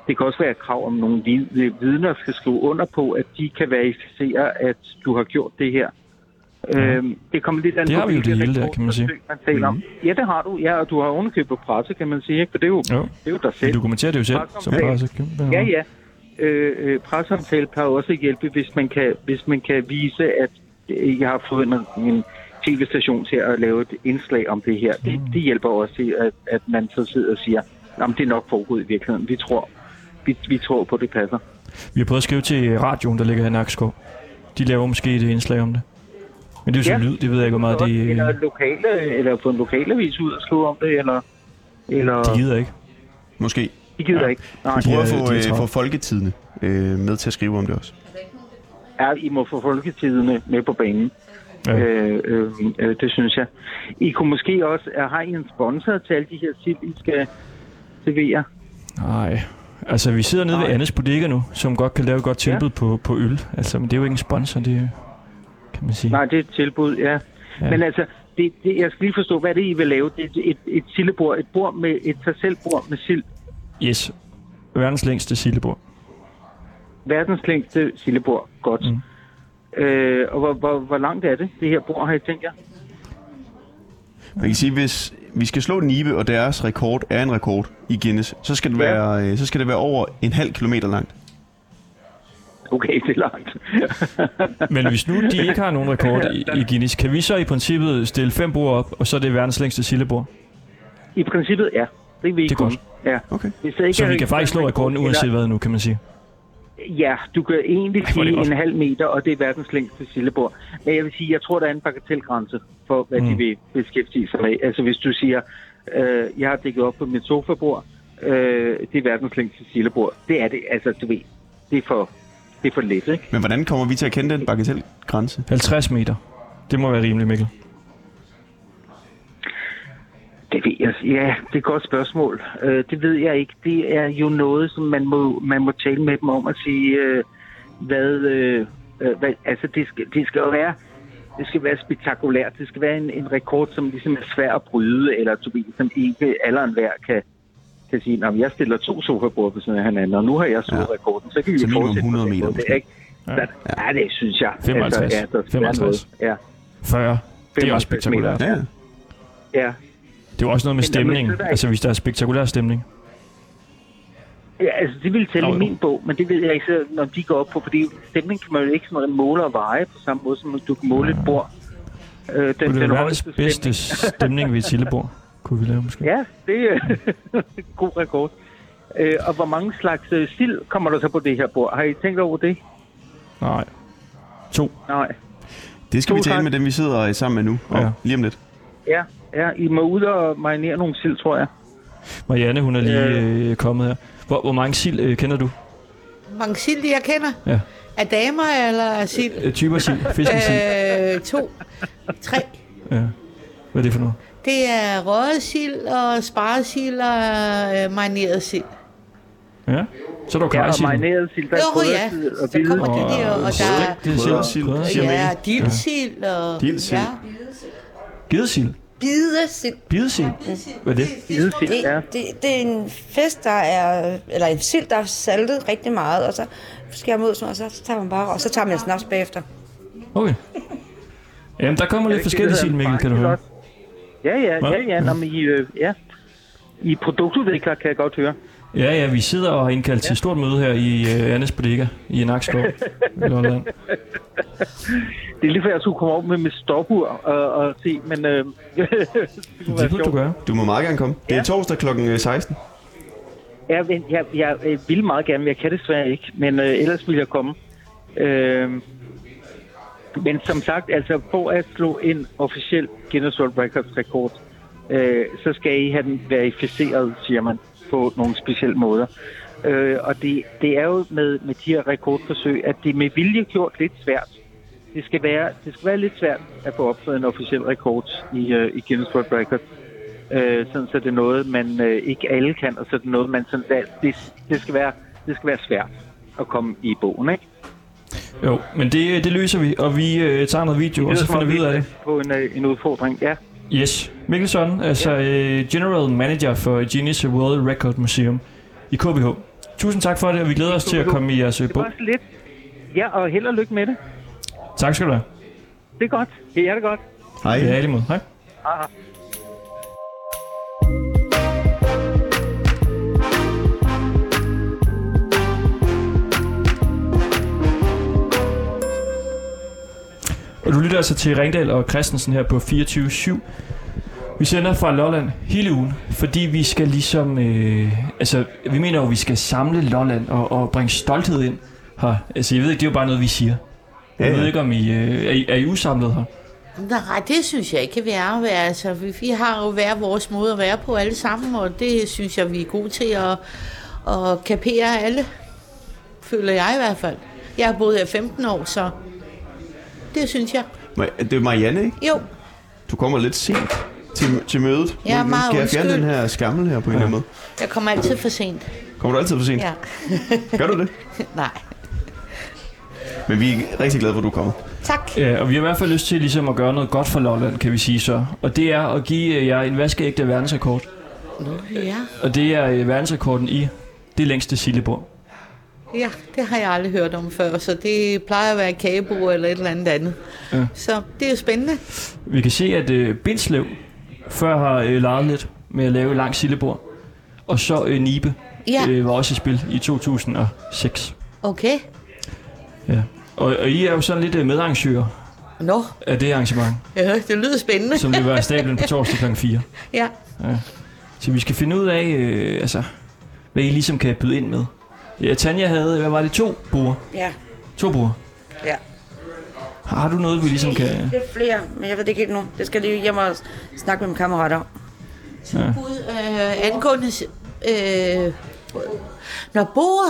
Speaker 8: Det kan også være et krav, om nogle vid- vidner skal skrive under på, at de kan verificere, at du har gjort det her. Øhm, det kommer lidt an
Speaker 1: Det
Speaker 8: på,
Speaker 1: har vi jo
Speaker 8: hvilke
Speaker 1: det hele der,
Speaker 8: rekord-
Speaker 1: kan man sige.
Speaker 8: forsøg, Man taler om.
Speaker 1: Mhm.
Speaker 8: Ja, det har du. Ja, og du har ovenikøbet presse, kan man sige. Ikke? For det er jo,
Speaker 1: Jo.
Speaker 8: det er jo dig
Speaker 1: Vi
Speaker 8: selv.
Speaker 1: dokumenterer det jo selv, som bare så kæmpe.
Speaker 8: Ja, ja. Øh, øh, presseomtale kan jo også hjælpe, hvis man kan, hvis man kan vise, at øh, jeg har fået en, en tv-station til at lave et indslag om det her. Det,
Speaker 1: Mm.
Speaker 8: det hjælper også til, at, at man så sidder og siger, om det er nok foregået i virkeligheden. Vi tror, vi, vi tror på, at det passer.
Speaker 1: Vi har prøvet at skrive til øh, radioen, der ligger her i Nakskov. De laver måske et indslag om det. Men det er jo så
Speaker 8: Ja.
Speaker 1: lyd, det ved jeg ikke, hvor meget det... øh,
Speaker 8: Eller lokale, eller få en lokalavis ud og skrive om det, eller... eller
Speaker 1: De gider ikke.
Speaker 2: Måske.
Speaker 8: de gider ja. ikke. Nej,
Speaker 2: Vi prøver at
Speaker 1: de er
Speaker 2: få, øh,
Speaker 1: travlt.
Speaker 2: få folketidene øh, med til at skrive om det også.
Speaker 8: er, I må få folketiderne med på banen.
Speaker 1: Ja.
Speaker 8: Ja. Øh, øh, øh, det synes jeg. I kunne måske også, er, har I en sponsor til alle de her sild, I skal servere?
Speaker 1: Nej. Altså, vi sidder nede ved
Speaker 8: Nej.
Speaker 1: Annes Bodega nu, som godt kan lave et godt tilbud på, på øl. Altså, men det er jo ikke en sponsor, det er- kan man sige.
Speaker 8: Nej, det er et tilbud, ja.
Speaker 1: Ja.
Speaker 8: ja. Men altså, det, det, jeg skal lige forstå, hvad det er, I vil lave. Det er et, et, et sildebord, et bord med et tag selv bord med sild.
Speaker 1: Yes. Verdens længste sillebord.
Speaker 8: Verdens længste sildebord, godt. Mm. Øh, og hvor, hvor, hvor langt er det, det her bord, har I tænkt jer?
Speaker 2: Man kan sige, hvis vi skal slå Nibe, og deres rekord er en rekord i Guinness, så skal det
Speaker 8: Ja.
Speaker 2: være, øh, så skal det være over en halv kilometer langt.
Speaker 8: Okay, det er langt.
Speaker 1: Men hvis nu de ikke har nogen rekord i, i Guinness, kan vi så i princippet stille fem bord op, og så er det verdens længste sillebord?
Speaker 8: I princippet, ja. Det vil I
Speaker 1: Det er
Speaker 8: kunne.
Speaker 1: godt.
Speaker 8: Ja.
Speaker 2: Okay.
Speaker 8: Hvis der ikke
Speaker 1: Så
Speaker 8: er
Speaker 1: vi kan faktisk slå rekorden
Speaker 8: eller-
Speaker 1: uanset hvad nu, kan man sige.
Speaker 8: Ja, du kan egentlig
Speaker 1: hvor er det
Speaker 8: sige
Speaker 1: godt.
Speaker 8: en halv meter, og det er verdens længste sillebord. Men jeg vil sige, jeg tror, der er en bagatelgrænse for, hvad mm. de vil beskæftige sig med. Altså hvis du siger, øh, jeg har dækket op på mit sofabord, øh, det er verdens længste sillebord. Det er det, altså du ved, det er for, det er for let, ikke?
Speaker 2: Men hvordan kommer vi til at kende den bagatelgrænse?
Speaker 1: 50 meter. Det må være rimeligt, Mikkel.
Speaker 8: Det ved jeg. Ja, det er et godt spørgsmål. Øh, det ved jeg ikke. Det er jo noget, som man må, man må tale med dem om og sige, øh, hvad, øh, øh, hvad... Altså, det skal, det skal jo være... Det skal være spektakulært. Det skal være en, en rekord, som ligesom er svær at bryde, eller du ved, som ikke alle og enhver kan, kan sige, at jeg stiller to sofabord ved siden af hinanden, og nu har jeg slået ja. rekorden, så kan vi
Speaker 2: Så
Speaker 8: jo
Speaker 2: minimum
Speaker 8: fortsætte.
Speaker 2: 100
Speaker 8: med
Speaker 2: meter
Speaker 8: det,
Speaker 2: måske.
Speaker 8: ikke? Ja. Så, ja, det synes jeg. Altså,
Speaker 1: 55.
Speaker 8: ja, der skal være
Speaker 1: 55.
Speaker 8: noget. Ja,
Speaker 1: 40. Det er også
Speaker 8: 55
Speaker 1: spektakulært.
Speaker 2: Ja, ja.
Speaker 8: ja.
Speaker 1: Det er jo også noget med
Speaker 8: Men der- men
Speaker 1: stemning.
Speaker 8: så er der ikke-
Speaker 1: Altså, hvis der er spektakulær stemning.
Speaker 8: Ja, altså det ville tælle
Speaker 1: Nå,
Speaker 8: i
Speaker 1: jo.
Speaker 8: min bog, men det ved jeg ikke, så, når de går op på, fordi stemning kan man jo ikke sådan måle og veje på samme måde, som du kan måle et bord. Øh, den,
Speaker 1: Det er
Speaker 8: den
Speaker 1: verdens
Speaker 8: højeste stemning.
Speaker 1: bedste stemning ved et sillebord, kunne vi lave måske.
Speaker 8: Ja, det er en god rekord. Øh, og hvor mange slags øh, sild kommer der så på det her bord? Har I tænkt over det?
Speaker 1: Nej. To.
Speaker 8: Nej.
Speaker 2: Det skal
Speaker 8: To
Speaker 2: vi tale
Speaker 8: tak.
Speaker 2: med dem, vi sidder øh, sammen med nu, og
Speaker 1: Ja.
Speaker 2: lige om lidt.
Speaker 8: Ja, ja I må ud og marinere nogle sild, tror jeg.
Speaker 1: Marianne, hun er lige øh, kommet her. Hvor, hvor mange sild øh, kender du?
Speaker 9: Mange sild, jeg kender.
Speaker 1: Ja.
Speaker 9: Er damer eller er sild?
Speaker 1: Øh, typer sild, fiskesild.
Speaker 9: Øh, to, tre.
Speaker 1: Ja. Hvad er det for noget?
Speaker 9: Det er røget sild og sparet sild og øh, marineret sild.
Speaker 1: Ja. Så er der jo
Speaker 8: Ja, og
Speaker 1: karrysild.
Speaker 8: marineret sild, der er
Speaker 9: Åh ja,
Speaker 8: kryddersild og
Speaker 9: så kommer
Speaker 8: vilde.
Speaker 9: det der, og der er
Speaker 1: Det er sild.
Speaker 2: Kryddersild.
Speaker 9: ja, dildsild og
Speaker 2: Dildsild.
Speaker 9: ja,
Speaker 1: Gedesild.
Speaker 6: Bidesild.
Speaker 1: Bidesild. Hvad er det?
Speaker 8: Vilde sild,
Speaker 6: Det,
Speaker 8: ja.
Speaker 6: det, det er en fisk, der er, eller en sild, der er saltet rigtig meget, og så skærer man ud, sådan, og så tager man bare, og så tager man en snaps bagefter.
Speaker 1: Okay. Jamen, der kommer lidt forskellige sild, Mikkel, kan du høre.
Speaker 8: Ja, ja, ja,
Speaker 1: Hva?
Speaker 8: ja. Nå, men I, øh, ja. I er produktudvikler, kan jeg godt høre.
Speaker 1: Ja, ja, vi sidder og har indkaldt til et stort møde her i øh, Annes Bodega i Nakskov. i Lolland.
Speaker 8: Det er lige før, jeg skulle komme over med mit stopur og, og se, men øh, det kunne
Speaker 1: Det
Speaker 8: være
Speaker 1: burde du
Speaker 8: sjovt.
Speaker 1: gøre.
Speaker 2: Du må meget gerne komme. Det er torsdag øh, kl. 16.
Speaker 8: Ja, men jeg, jeg, jeg vil meget gerne, men jeg kan desværre ikke. Men øh, ellers vil jeg komme. Øh, men som sagt, altså for at slå en officiel Guinness World Records rekord, øh, så skal I have den verificeret, siger man, på nogle specielle måder. Øh, og det, det er jo med, med de her rekordforsøg, at det er med vilje gjort lidt svært. Det skal være, det skal være lidt svært at få opført en officiel rekord i, øh, i Guinness World Records øh, sådan så det er noget, man øh, ikke alle kan, og så er det noget, man sådan, der, det, det, skal være, det skal være svært at komme i bogen, ikke?
Speaker 1: Jo, men det, det løser vi, og vi øh, tager noget video, og så
Speaker 8: som
Speaker 1: finder
Speaker 8: om
Speaker 1: vi ud af det.
Speaker 8: er På en, øh, en udfordring, ja.
Speaker 1: Yes. Mikkel Søren, altså øh, General Manager for Guinness World Record Museum i KBH. Tusind tak for det, og vi glæder os til at komme i jeres øh,
Speaker 8: Det
Speaker 1: bog.
Speaker 8: var også lidt. Ja, og held og lykke med det.
Speaker 1: Tak skal du have.
Speaker 8: Det er godt. Det er det godt.
Speaker 2: Hej.
Speaker 1: Ja, i lige måde. Hej. Og du lytter altså til Ringdal og Christensen her på 24-7. Vi sender fra Lolland hele ugen, fordi vi skal ligesom... Øh, altså, vi mener jo, at vi skal samle Lolland og, og bringe stolthed ind her. Altså, jeg ved ikke, det er jo bare noget, vi siger. Jeg
Speaker 2: Ja, ja.
Speaker 1: ved ikke, om I, øh, er, I, er I usamlet her?
Speaker 9: Nej, det synes jeg ikke, vi er. Altså, vi, vi har jo hver vores måde at være på alle sammen, og det synes jeg, vi er gode til at, at kapere alle. Føler jeg i hvert fald. Jeg har boet her 15 år, så det synes jeg.
Speaker 2: Ma- Det er Marianne, ikke?
Speaker 9: Jo,
Speaker 2: Du kommer lidt sent til, til mødet.
Speaker 9: Jeg er
Speaker 2: Nu- nu
Speaker 9: meget
Speaker 2: skal jeg fjerne
Speaker 9: undskyld.
Speaker 2: den her skammel her på en eller anden måde.
Speaker 9: jeg kommer altid for sent.
Speaker 2: Kommer du altid for sent?
Speaker 9: Ja,
Speaker 2: Gør du det?
Speaker 9: nej.
Speaker 2: Men vi er rigtig glade for, at du kommer.
Speaker 9: Tak.
Speaker 1: Ja, Øh, og vi har i hvert fald lyst til ligesom at gøre noget godt for Lolland, kan vi sige så. Og det er at give øh, jer en vaskeægte verdensrekord.
Speaker 9: Nå, ja.
Speaker 1: Og det er øh, verdensrekorden i det længste sillebord.
Speaker 9: ja, det har jeg aldrig hørt om før, så det plejer at være kagebo eller et eller andet andet.
Speaker 1: Ja.
Speaker 9: Ja. Så det er jo spændende.
Speaker 1: Vi kan se, at øh, Bindslev før har øh, leget lidt med at lave et langt sillebord. Og så øh, Nibe
Speaker 9: Ja.
Speaker 1: øh, var også i spil i 2006.
Speaker 9: Okay.
Speaker 1: Ja. Og, og I er jo sådan lidt øh, medarrangører
Speaker 9: Nå,
Speaker 1: af det arrangement,
Speaker 9: ja, det lyder spændende.
Speaker 1: som løber af stablen på torsdag kl. 4.
Speaker 9: Ja.
Speaker 1: Så vi skal finde ud af, øh, altså, hvad I ligesom kan byde ind med. Ja, Tanja havde, hvad var det, to bord?
Speaker 6: Ja,
Speaker 1: To bord?
Speaker 6: Ja.
Speaker 1: Har du noget, vi ligesom kan...
Speaker 6: lidt flere, men jeg ved det ikke helt nu. Det skal jeg lige hjem og snakke med mine kammerater om.
Speaker 9: Bud, øh, angående... s- Øh, når bor...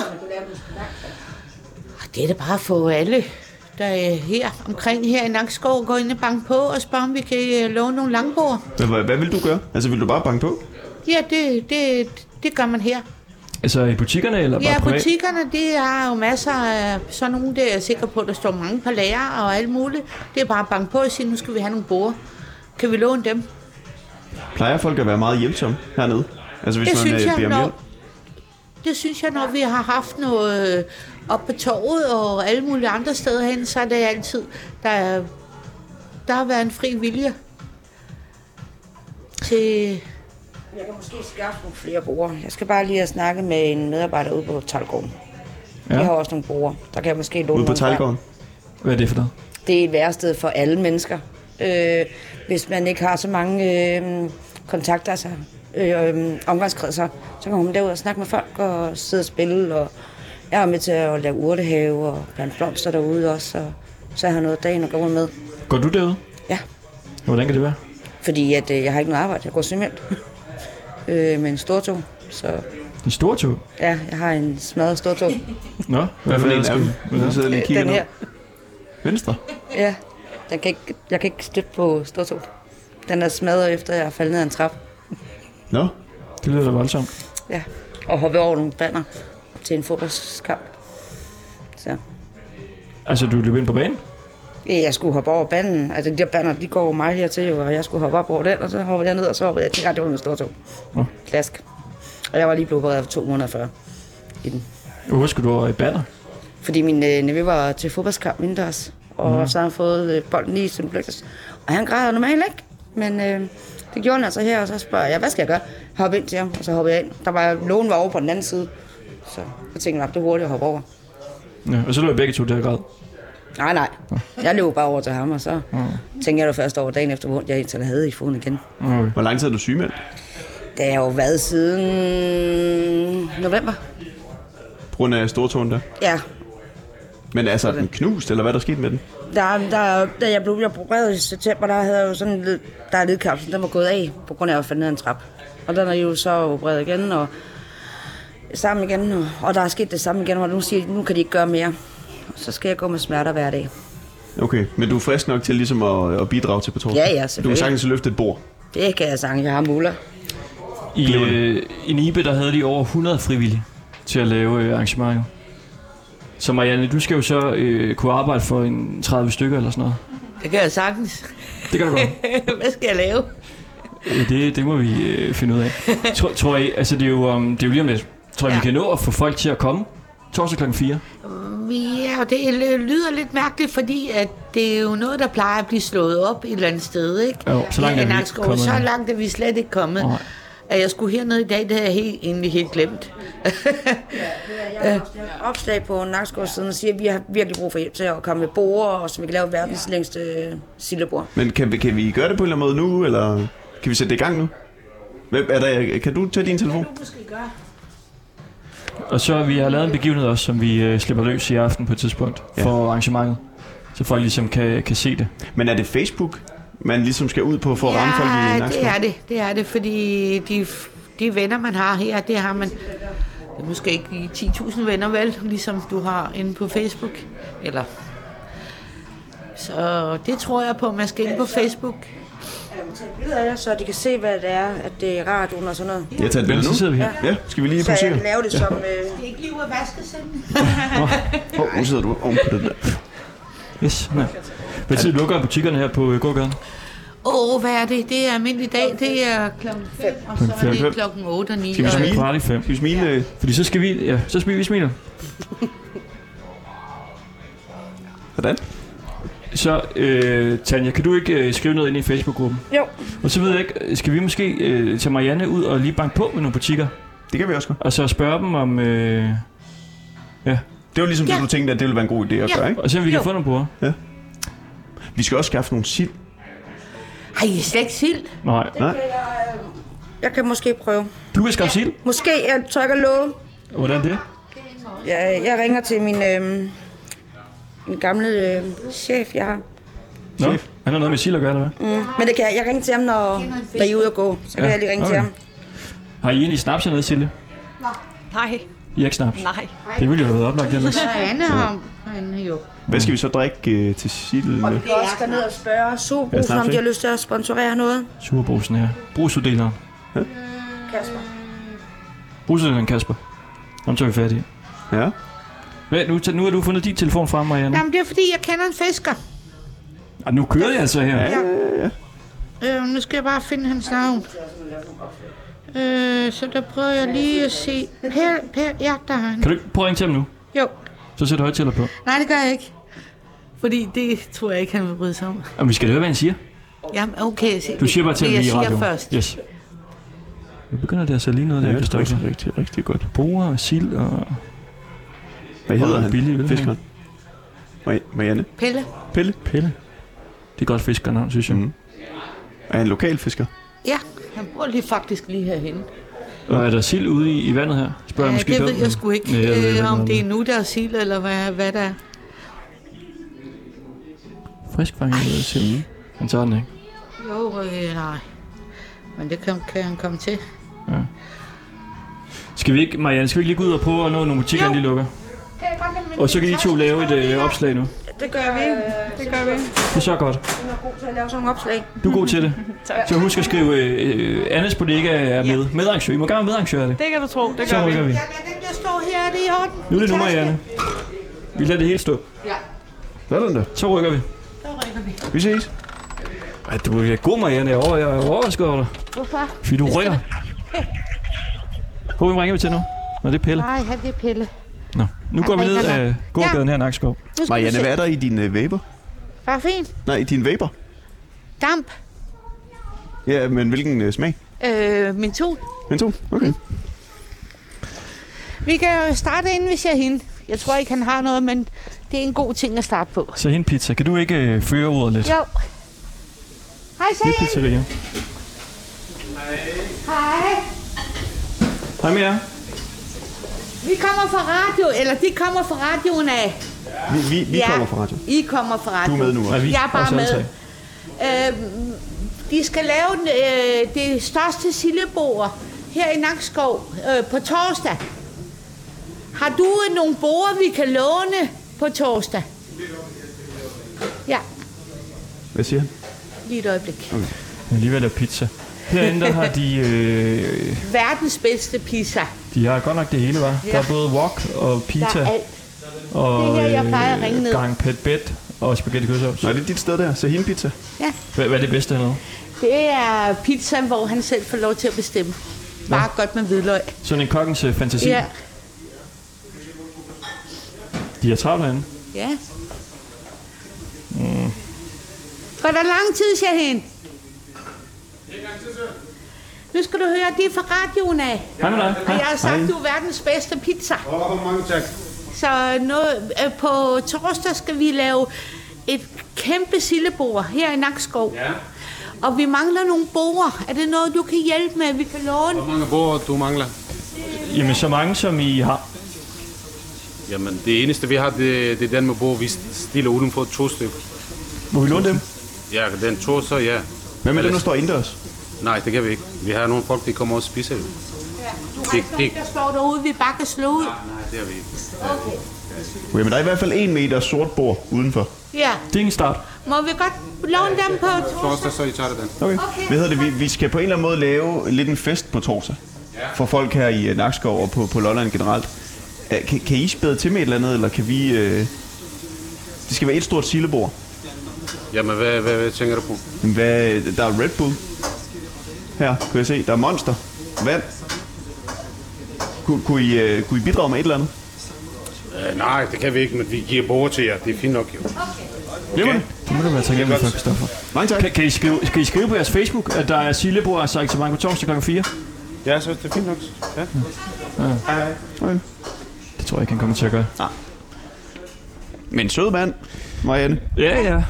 Speaker 9: Det er da bare at få alle, der er her omkring her i Nakskov, gå ind og banke på og spørge, om vi kan øh, låne nogle langbord.
Speaker 2: Men hvad, hvad vil du gøre? Altså, vil du bare banke på?
Speaker 9: Ja, det, det, det gør man her.
Speaker 1: Altså i butikkerne, eller bare
Speaker 9: Ja,
Speaker 1: privat?
Speaker 9: butikkerne, de har jo masser af sådan nogle, der er jeg sikker på, der står mange på lager og alt muligt. Det er bare at banke på og sige, nu skal vi have nogle bord. Kan vi låne dem?
Speaker 2: Plejer folk at være meget hjælpsomme hernede? Altså, hvis
Speaker 9: det
Speaker 2: man
Speaker 9: synes
Speaker 2: øh,
Speaker 9: jeg,
Speaker 2: beder om hjælp?
Speaker 9: når, det synes jeg, når vi har haft noget øh, op på torvet og alle mulige andre steder hen, så er det altid, der, er- der har været en fri vilje til...
Speaker 6: Jeg kan måske skaffe nogle flere brugere. Jeg skal bare lige have snakket med en medarbejder ude på Talgården. Ja.
Speaker 1: Ja.
Speaker 6: De har også nogle brugere. Der kan jeg måske
Speaker 2: Ude
Speaker 6: låne
Speaker 2: på
Speaker 6: nogle fra.
Speaker 2: Tejlgården?
Speaker 1: Hvad er det for noget?
Speaker 6: Det er et værested for alle mennesker. Øh, hvis man ikke har så mange øh, kontakter, altså øh, omgangskredser, så kan man derud og snakke med folk og sidde og spille. Og jeg er med til at lave urtehave og plante blomster derude også. Og så har jeg noget dagen at gå med.
Speaker 1: Går du derude?
Speaker 6: Ja,
Speaker 1: Hvordan kan det være?
Speaker 6: fordi at, øh, jeg har ikke noget arbejde. Jeg går sygemeldt. øh, med en stortog. Så
Speaker 1: En stor tog?
Speaker 6: ja, jeg har en smadret stortog.
Speaker 1: Nå,
Speaker 2: Hvad for en af dem? Nu sidder jeg lige og kigger
Speaker 6: Den her.
Speaker 2: ned. Venstre?
Speaker 6: Ja, den kan ikke, jeg kan ikke støtte på stortog. Den er smadret efter, jeg er faldet ned ad en trap.
Speaker 2: Nå.
Speaker 1: Det lyder da voldsomt.
Speaker 6: Ja, og hoppe over nogle banner til en fodboldskamp. Så
Speaker 1: Altså, du løb ind på banen?
Speaker 6: ja, jeg skulle hoppe over banen. Altså, de der banner, de går jo mig her til, og jeg skulle hoppe op over den, og så hoppede jeg ned, og så hoppede jeg direkte over min stortog.
Speaker 1: Nå.
Speaker 6: Klask. Og jeg var lige blevet opereret for 240 i den.
Speaker 1: Hvor skulle du over i banner?
Speaker 6: Fordi min øh, nevø var til fodboldskamp indendørs, og mm. så har han fået øh, bolden lige som blødt. Og han græder normalt ikke, men øh, det gjorde han altså her, og så spørger jeg, hvad skal jeg gøre? Hoppe ind til ham, og så hoppede jeg ind. Der var, lågen var over på den anden side, så jeg tænkte, at det er hurtigt at hoppe over.
Speaker 1: Ja, og så løb begge to der grad.
Speaker 6: Nej, nej. Jeg løb bare over til ham, og så mm. tænkte jeg da først over dagen efter, hvor ondt jeg indtil havde i foden igen.
Speaker 1: Okay.
Speaker 2: Hvor lang tid har du sygemeldt?
Speaker 6: Det har jo været siden november.
Speaker 2: På grund af stortåen der.
Speaker 6: Ja,
Speaker 2: Men altså, er den knust, eller hvad er der sket med den?
Speaker 6: Der, der, da jeg blev opereret i september, der havde jeg jo sådan lidt, der er ledkapslen, den var gået af, på grund af at jeg faldt ned ad en trap. Og den er jo så opereret igen, og sammen igen, og, og der er sket det samme igen, og nu siger de, nu kan de ikke gøre mere. Så skal jeg gå med smerter hver dag.
Speaker 2: Okay, men du er frisk nok til ligesom at, at bidrage til på torsdag?
Speaker 6: Ja, ja,
Speaker 2: Du kan
Speaker 6: selvfølgelig.
Speaker 2: sagtens løfte et bord.
Speaker 6: Det kan jeg sange, jeg har muller.
Speaker 1: I,
Speaker 2: Blev det?
Speaker 1: øh, I Nibe, der havde de over 100 frivillige til at lave øh, arrangementer. jo. Så Marianne, du skal jo så øh, kunne arbejde for en 30 stykker eller sådan noget.
Speaker 9: Det kan jeg sagtens.
Speaker 1: Det kan du godt.
Speaker 9: Hvad skal jeg lave?
Speaker 1: Ja, det, det må vi øh, finde ud af. Tror, tror I, altså det er, jo, um, det er jo lige om lidt. Tror I, ja.
Speaker 9: Ja.
Speaker 1: vi kan nå at få folk til at komme? Torsdag klokken 4.
Speaker 9: Ja, og det l- lyder lidt mærkeligt, fordi at det er jo noget, der plejer at blive slået op et eller andet sted, ikke?
Speaker 1: Jo, så
Speaker 9: Her i
Speaker 1: langt er vi ikke
Speaker 9: Nakskov.
Speaker 1: kommet
Speaker 9: Så
Speaker 1: endnu.
Speaker 9: langt er vi slet ikke kommet.
Speaker 1: Nej.
Speaker 9: At jeg skulle hernede i dag, det havde jeg helt, egentlig helt glemt.
Speaker 6: Opslag på Nakskårdssiden og siger, at vi har virkelig brug for hjælp til at komme med borer, og så vi kan lave verdens længste øh, sildebord.
Speaker 2: Men kan vi, kan vi gøre det på en eller anden måde nu, eller kan vi sætte det i gang nu? Hvem er der, kan du tage din telefon?
Speaker 1: Og så vi har lavet en begivenhed også, som vi øh, slipper løs i aften på et tidspunkt ja.
Speaker 2: Ja.
Speaker 1: for arrangementet. Så folk ligesom kan, kan se det.
Speaker 2: Men er det Facebook, man ligesom skal ud på for at ramme folk i
Speaker 9: det er
Speaker 2: Nakskov?
Speaker 9: det. Det er det, fordi de, f- de venner, man har her, det har man... Det er måske ikke lige 10.000 venner, vel? Ligesom du har inde på Facebook. Eller... Så det tror jeg på, man skal ind på Facebook.
Speaker 6: Billeder af jer, så de kan se, hvad det er, at det er radioen og sådan noget.
Speaker 2: Jeg tager det
Speaker 1: Men så
Speaker 2: nu.
Speaker 1: sidder vi her.
Speaker 2: Ja, skal vi lige
Speaker 6: Så jeg
Speaker 2: posere?
Speaker 6: kan lave det som... Øh,
Speaker 9: Det er ikke lige at vaske sådan.
Speaker 2: Åh, oh, nu sidder du oven på det der.
Speaker 1: Yes, ja. Hvad tid lukker butikkerne her på øh, gågaden?
Speaker 9: Åh, oh, hvad er det? Det er almindelig dag. Det er klokken 5, og så er
Speaker 2: Klokken fem.
Speaker 9: det klokken 8 og 9.
Speaker 1: Skal vi smile?
Speaker 2: smile?
Speaker 1: Kvart i fem.
Speaker 2: Skal vi smile? øh?
Speaker 1: Fordi så skal vi, ja, så skal vi smile.
Speaker 2: Hvordan?
Speaker 1: Så, øh, Tanja, kan du ikke øh, skrive noget ind i Facebook-gruppen?
Speaker 6: Jo.
Speaker 1: Og så ved jeg ikke, skal vi måske øh, tage Marianne ud og lige banke på med nogle butikker?
Speaker 2: Det kan vi også godt.
Speaker 1: Og så spørge dem om... Øh,
Speaker 2: Det var ligesom ja.
Speaker 9: Ja.
Speaker 2: det, du tænkte, at det ville være en god idé at
Speaker 9: Ja.
Speaker 2: gøre, ikke?
Speaker 1: og se om vi kan
Speaker 9: Jo.
Speaker 1: få nogle bruger.
Speaker 2: Vi skal også skaffe nogle sild.
Speaker 9: Har I slet ikke sild?
Speaker 1: Nej.
Speaker 6: Jeg kan måske prøve.
Speaker 1: Du kan skaffe sild.
Speaker 6: Måske, jeg tør ikke at love.
Speaker 1: Hvordan det?
Speaker 6: Jeg, jeg ringer til min, øh, min gamle øh, chef, jeg har.
Speaker 1: Nå, han har noget med sild at gøre, eller hvad?
Speaker 6: Mm. Men det kan jeg. Jeg ringer til ham, når, når I er ude at gå. Så kan
Speaker 1: Ja,
Speaker 6: jeg lige ringe okay. til
Speaker 1: okay.
Speaker 6: ham.
Speaker 1: Har I egentlig snaps hernede, Silje?
Speaker 10: Nej,
Speaker 1: I har ikke snaps?
Speaker 10: nej.
Speaker 1: Det ville jo have været oplagt ellers.
Speaker 9: Så Anne har han jo.
Speaker 2: Hvad skal vi så drikke øh, til silden med?
Speaker 6: Vi kan også gå ned og spørge
Speaker 2: Ja,
Speaker 6: Sobrusen,
Speaker 2: snaps,
Speaker 6: om de
Speaker 2: ikke?
Speaker 6: har lyst til at sponsorere noget.
Speaker 1: Surbrusen her. Brusuddeleren.
Speaker 6: Kasper.
Speaker 1: Brusuddeleren, Kasper. Ham tager vi fat i.
Speaker 2: Ja.
Speaker 1: Hvad, nu, nu har du fundet din telefon frem, Marianne.
Speaker 9: Jamen, det er fordi, jeg kender en fisker.
Speaker 1: Og nu kører jeg altså her.
Speaker 2: Ja, ja, ja.
Speaker 9: Øh, nu skal jeg bare finde hans navn. Øh, så der prøver jeg lige at se. Per, per, ja, der er han.
Speaker 1: Kan du ikke prøve at ringe til ham nu?
Speaker 9: Jo.
Speaker 1: Så sæt højtaler på.
Speaker 9: Nej, det gør jeg ikke. Fordi det tror jeg ikke, han vil bryde sig om.
Speaker 1: Og Ah, vi skal høre, hvad han siger.
Speaker 9: Jamen, okay. Se,
Speaker 1: Du siger bare til
Speaker 9: det,
Speaker 1: ham
Speaker 9: jeg
Speaker 1: lige i
Speaker 9: siger
Speaker 1: radioen.
Speaker 9: først.
Speaker 1: Yes. Nu begynder det altså lige noget, der
Speaker 2: Ja,
Speaker 1: ja,
Speaker 2: det
Speaker 1: kan
Speaker 2: er
Speaker 1: stå
Speaker 2: rigtig, rigtig, rigtig godt.
Speaker 1: Bruger og sild og...
Speaker 2: Hvad
Speaker 1: Hvor
Speaker 2: hedder han?
Speaker 1: billig vil han?
Speaker 2: Fiskeren. Mari- Marianne.
Speaker 9: Pelle.
Speaker 2: Pelle.
Speaker 1: Pelle. Det er godt fiskernavn, synes jeg.
Speaker 2: Mhm. Er han lokal fisker?
Speaker 9: Ja, han bor lige faktisk lige herhen.
Speaker 1: Og er der sild ude i, i vandet her? Spørger jeg
Speaker 9: Ja,
Speaker 1: måske
Speaker 9: det ved
Speaker 1: dumt.
Speaker 9: jeg sgu ikke,
Speaker 1: Nej, jeg ved heller ikke
Speaker 9: øh, om
Speaker 1: noget
Speaker 9: det er nu, der er sild, eller hvad, hvad der er.
Speaker 1: Friskfanget af
Speaker 2: Mhm.
Speaker 1: sild. Han tager den, ikke?
Speaker 9: Jo, øh, nej. Men det kan, kan han komme til.
Speaker 1: Skal vi ikke, Marianne, skal vi ikke lige gå ud og prøve at nå nogle butikker, inden de lukker? Og så kan I to lave et øh, opslag nu.
Speaker 6: Det gør vi. Det gør vi.
Speaker 1: Det er så godt.
Speaker 6: Hun er god til at lave sådan nogle opslag.
Speaker 1: Du er god til det. tak. Så husk at skrive, øh, Annes Bodega er med. Medarrangør. I må gerne medarrangøre det.
Speaker 7: Det kan du tro, det
Speaker 1: Så
Speaker 7: gør vi.
Speaker 1: rykker vi.
Speaker 9: Jamen, den der står her, er det i orden?
Speaker 1: Nu er det nu, Marianne. Vi lader det hele stå.
Speaker 2: Sådan der.
Speaker 1: Så rykker vi.
Speaker 2: Vi ses.
Speaker 1: Ej, du er god, Marianne. Jeg er over- jeg er overrasket over dig.
Speaker 10: Hvorfor?
Speaker 1: Fordi du rykker. Hvor ringer vi til nu? Nå, det er Pelle.
Speaker 10: Nej, han det er Pille.
Speaker 1: Nå. Nu går vi ned
Speaker 10: ringer
Speaker 1: af gågaden her i Nakskov.
Speaker 10: Nu skal vi
Speaker 2: Marianne,
Speaker 10: se.
Speaker 2: hvad er der i din øh, vaper?
Speaker 10: Var fint.
Speaker 2: Nej, i din vaper?
Speaker 10: Damp.
Speaker 2: Ja, men hvilken øh, smag?
Speaker 9: Øh, min to.
Speaker 2: Men to? Okay.
Speaker 9: Vi kan jo starte ind, hvis jeg er hende. Jeg tror ikke, han har noget, men det er en god ting at starte på.
Speaker 1: Så hende pizza. Kan du ikke øh, føre ordet lidt?
Speaker 10: Jo. Hej,
Speaker 1: Det er pizzeria.
Speaker 10: Sagen. Hej.
Speaker 1: Hej med jer.
Speaker 9: Vi kommer fra radio, eller de kommer fra radioen af.
Speaker 2: Vi, vi, vi
Speaker 9: Ja.
Speaker 2: kommer fra radio.
Speaker 9: I kommer fra
Speaker 2: Du
Speaker 9: radioen.
Speaker 2: er med nu også.
Speaker 1: vi?
Speaker 9: Jeg er bare
Speaker 1: Os alle
Speaker 9: med.
Speaker 1: tre.
Speaker 9: Øh, de skal lave øh, det største sillebord her i Nakskov øh, på torsdag. Har du øh, nogle borer, vi kan låne på torsdag? Ja,
Speaker 2: Hvad siger han?
Speaker 9: lige et øjeblik.
Speaker 1: Jeg er lige ved at lave pizza. Herinde der har de... Øh,
Speaker 9: Verdens bedste pizza.
Speaker 1: de har godt nok det hele, var. Der er både wok og
Speaker 9: Der
Speaker 1: pizza
Speaker 9: er alt.
Speaker 1: og øh,
Speaker 9: Det er her, jeg plejer at ringe ned.
Speaker 1: gang pet bed og spaghetti kødsovs.
Speaker 2: Nå, er det dit sted der? Sahin Pizza?
Speaker 1: Hvad, hvad er det bedste hernede?
Speaker 9: Det er pizzaen, hvor han selv får lov til at bestemme. Bare godt med hvidløg.
Speaker 1: Sådan en kokkens øh, fantasi.
Speaker 9: Ja.
Speaker 1: De har travlt herinde.
Speaker 9: ja. Mm. Går der lang tid, Shahin? Nu skal du høre, det er fra radioen af.
Speaker 1: Hej med dig.
Speaker 9: Og
Speaker 1: Hej.
Speaker 9: jeg har sagt, du er verdens bedste pizza. Åh, mange tak. Så nu, øh, på torsdag skal vi lave et kæmpe sillebord her i Nakskov. Ja. Og vi mangler nogle borer. Er det noget, du kan hjælpe med, vi kan låne?
Speaker 5: mange bord du mangler?
Speaker 1: Jamen, så mange som I har.
Speaker 5: Jamen, det eneste vi har, det, det er den med bord, vi stiller udenfor to stykker.
Speaker 1: Må vi låne dem?
Speaker 5: Ja, den to, så ja.
Speaker 2: Hvad med den, der står indendørs?
Speaker 5: Nej, det kan vi ikke. Vi har nogle folk, der kommer og spiser. jo.
Speaker 9: Du har
Speaker 5: Det-
Speaker 9: ikke nogen,
Speaker 5: det-
Speaker 9: der står derude, vi bare kan slå ud.
Speaker 5: Nej, det har vi ikke.
Speaker 2: Okay, men der er i hvert fald en meter sort bord udenfor.
Speaker 9: Ja,
Speaker 1: Det er en start.
Speaker 9: må vi godt låne dem på
Speaker 5: Torsdag,
Speaker 9: torsdag?
Speaker 5: så I tager den.
Speaker 2: Okay.
Speaker 9: Okay.
Speaker 2: Hvad hedder det? Vi, vi skal på en eller anden måde lave lidt en fest på torsdag. For folk her i øh, Nakskov og på, på Lolland generelt. Øh, Kan, kan I spæde til med et eller andet, eller kan vi... Øh... Det skal være et stort sillebord.
Speaker 5: Jamen, hvad, hvad, hvad tænker du på?
Speaker 2: Men Hvad, der er Red Bull. Her, kunne jeg se. Der er Monster. Vand. Kun, kunne, I, øh, kunne I bidrage med et eller andet?
Speaker 5: Øh, nej, det kan vi ikke, men vi giver bord til jer. Det er fint nok, jo.
Speaker 1: Glemmer det? Det må du være taknemmelig for, Christoffer.
Speaker 2: Mange tak.
Speaker 1: Kan, kan, I skrive, kan I skrive på jeres Facebook, at der er Sillebord, altså ikke så mange på torsdag kl. 4?
Speaker 5: Ja, så det er fint nok. Ja.
Speaker 1: Det tror jeg ikke, han kommer til at gøre.
Speaker 2: Men sød mand, Marianne.
Speaker 1: Ja, ja.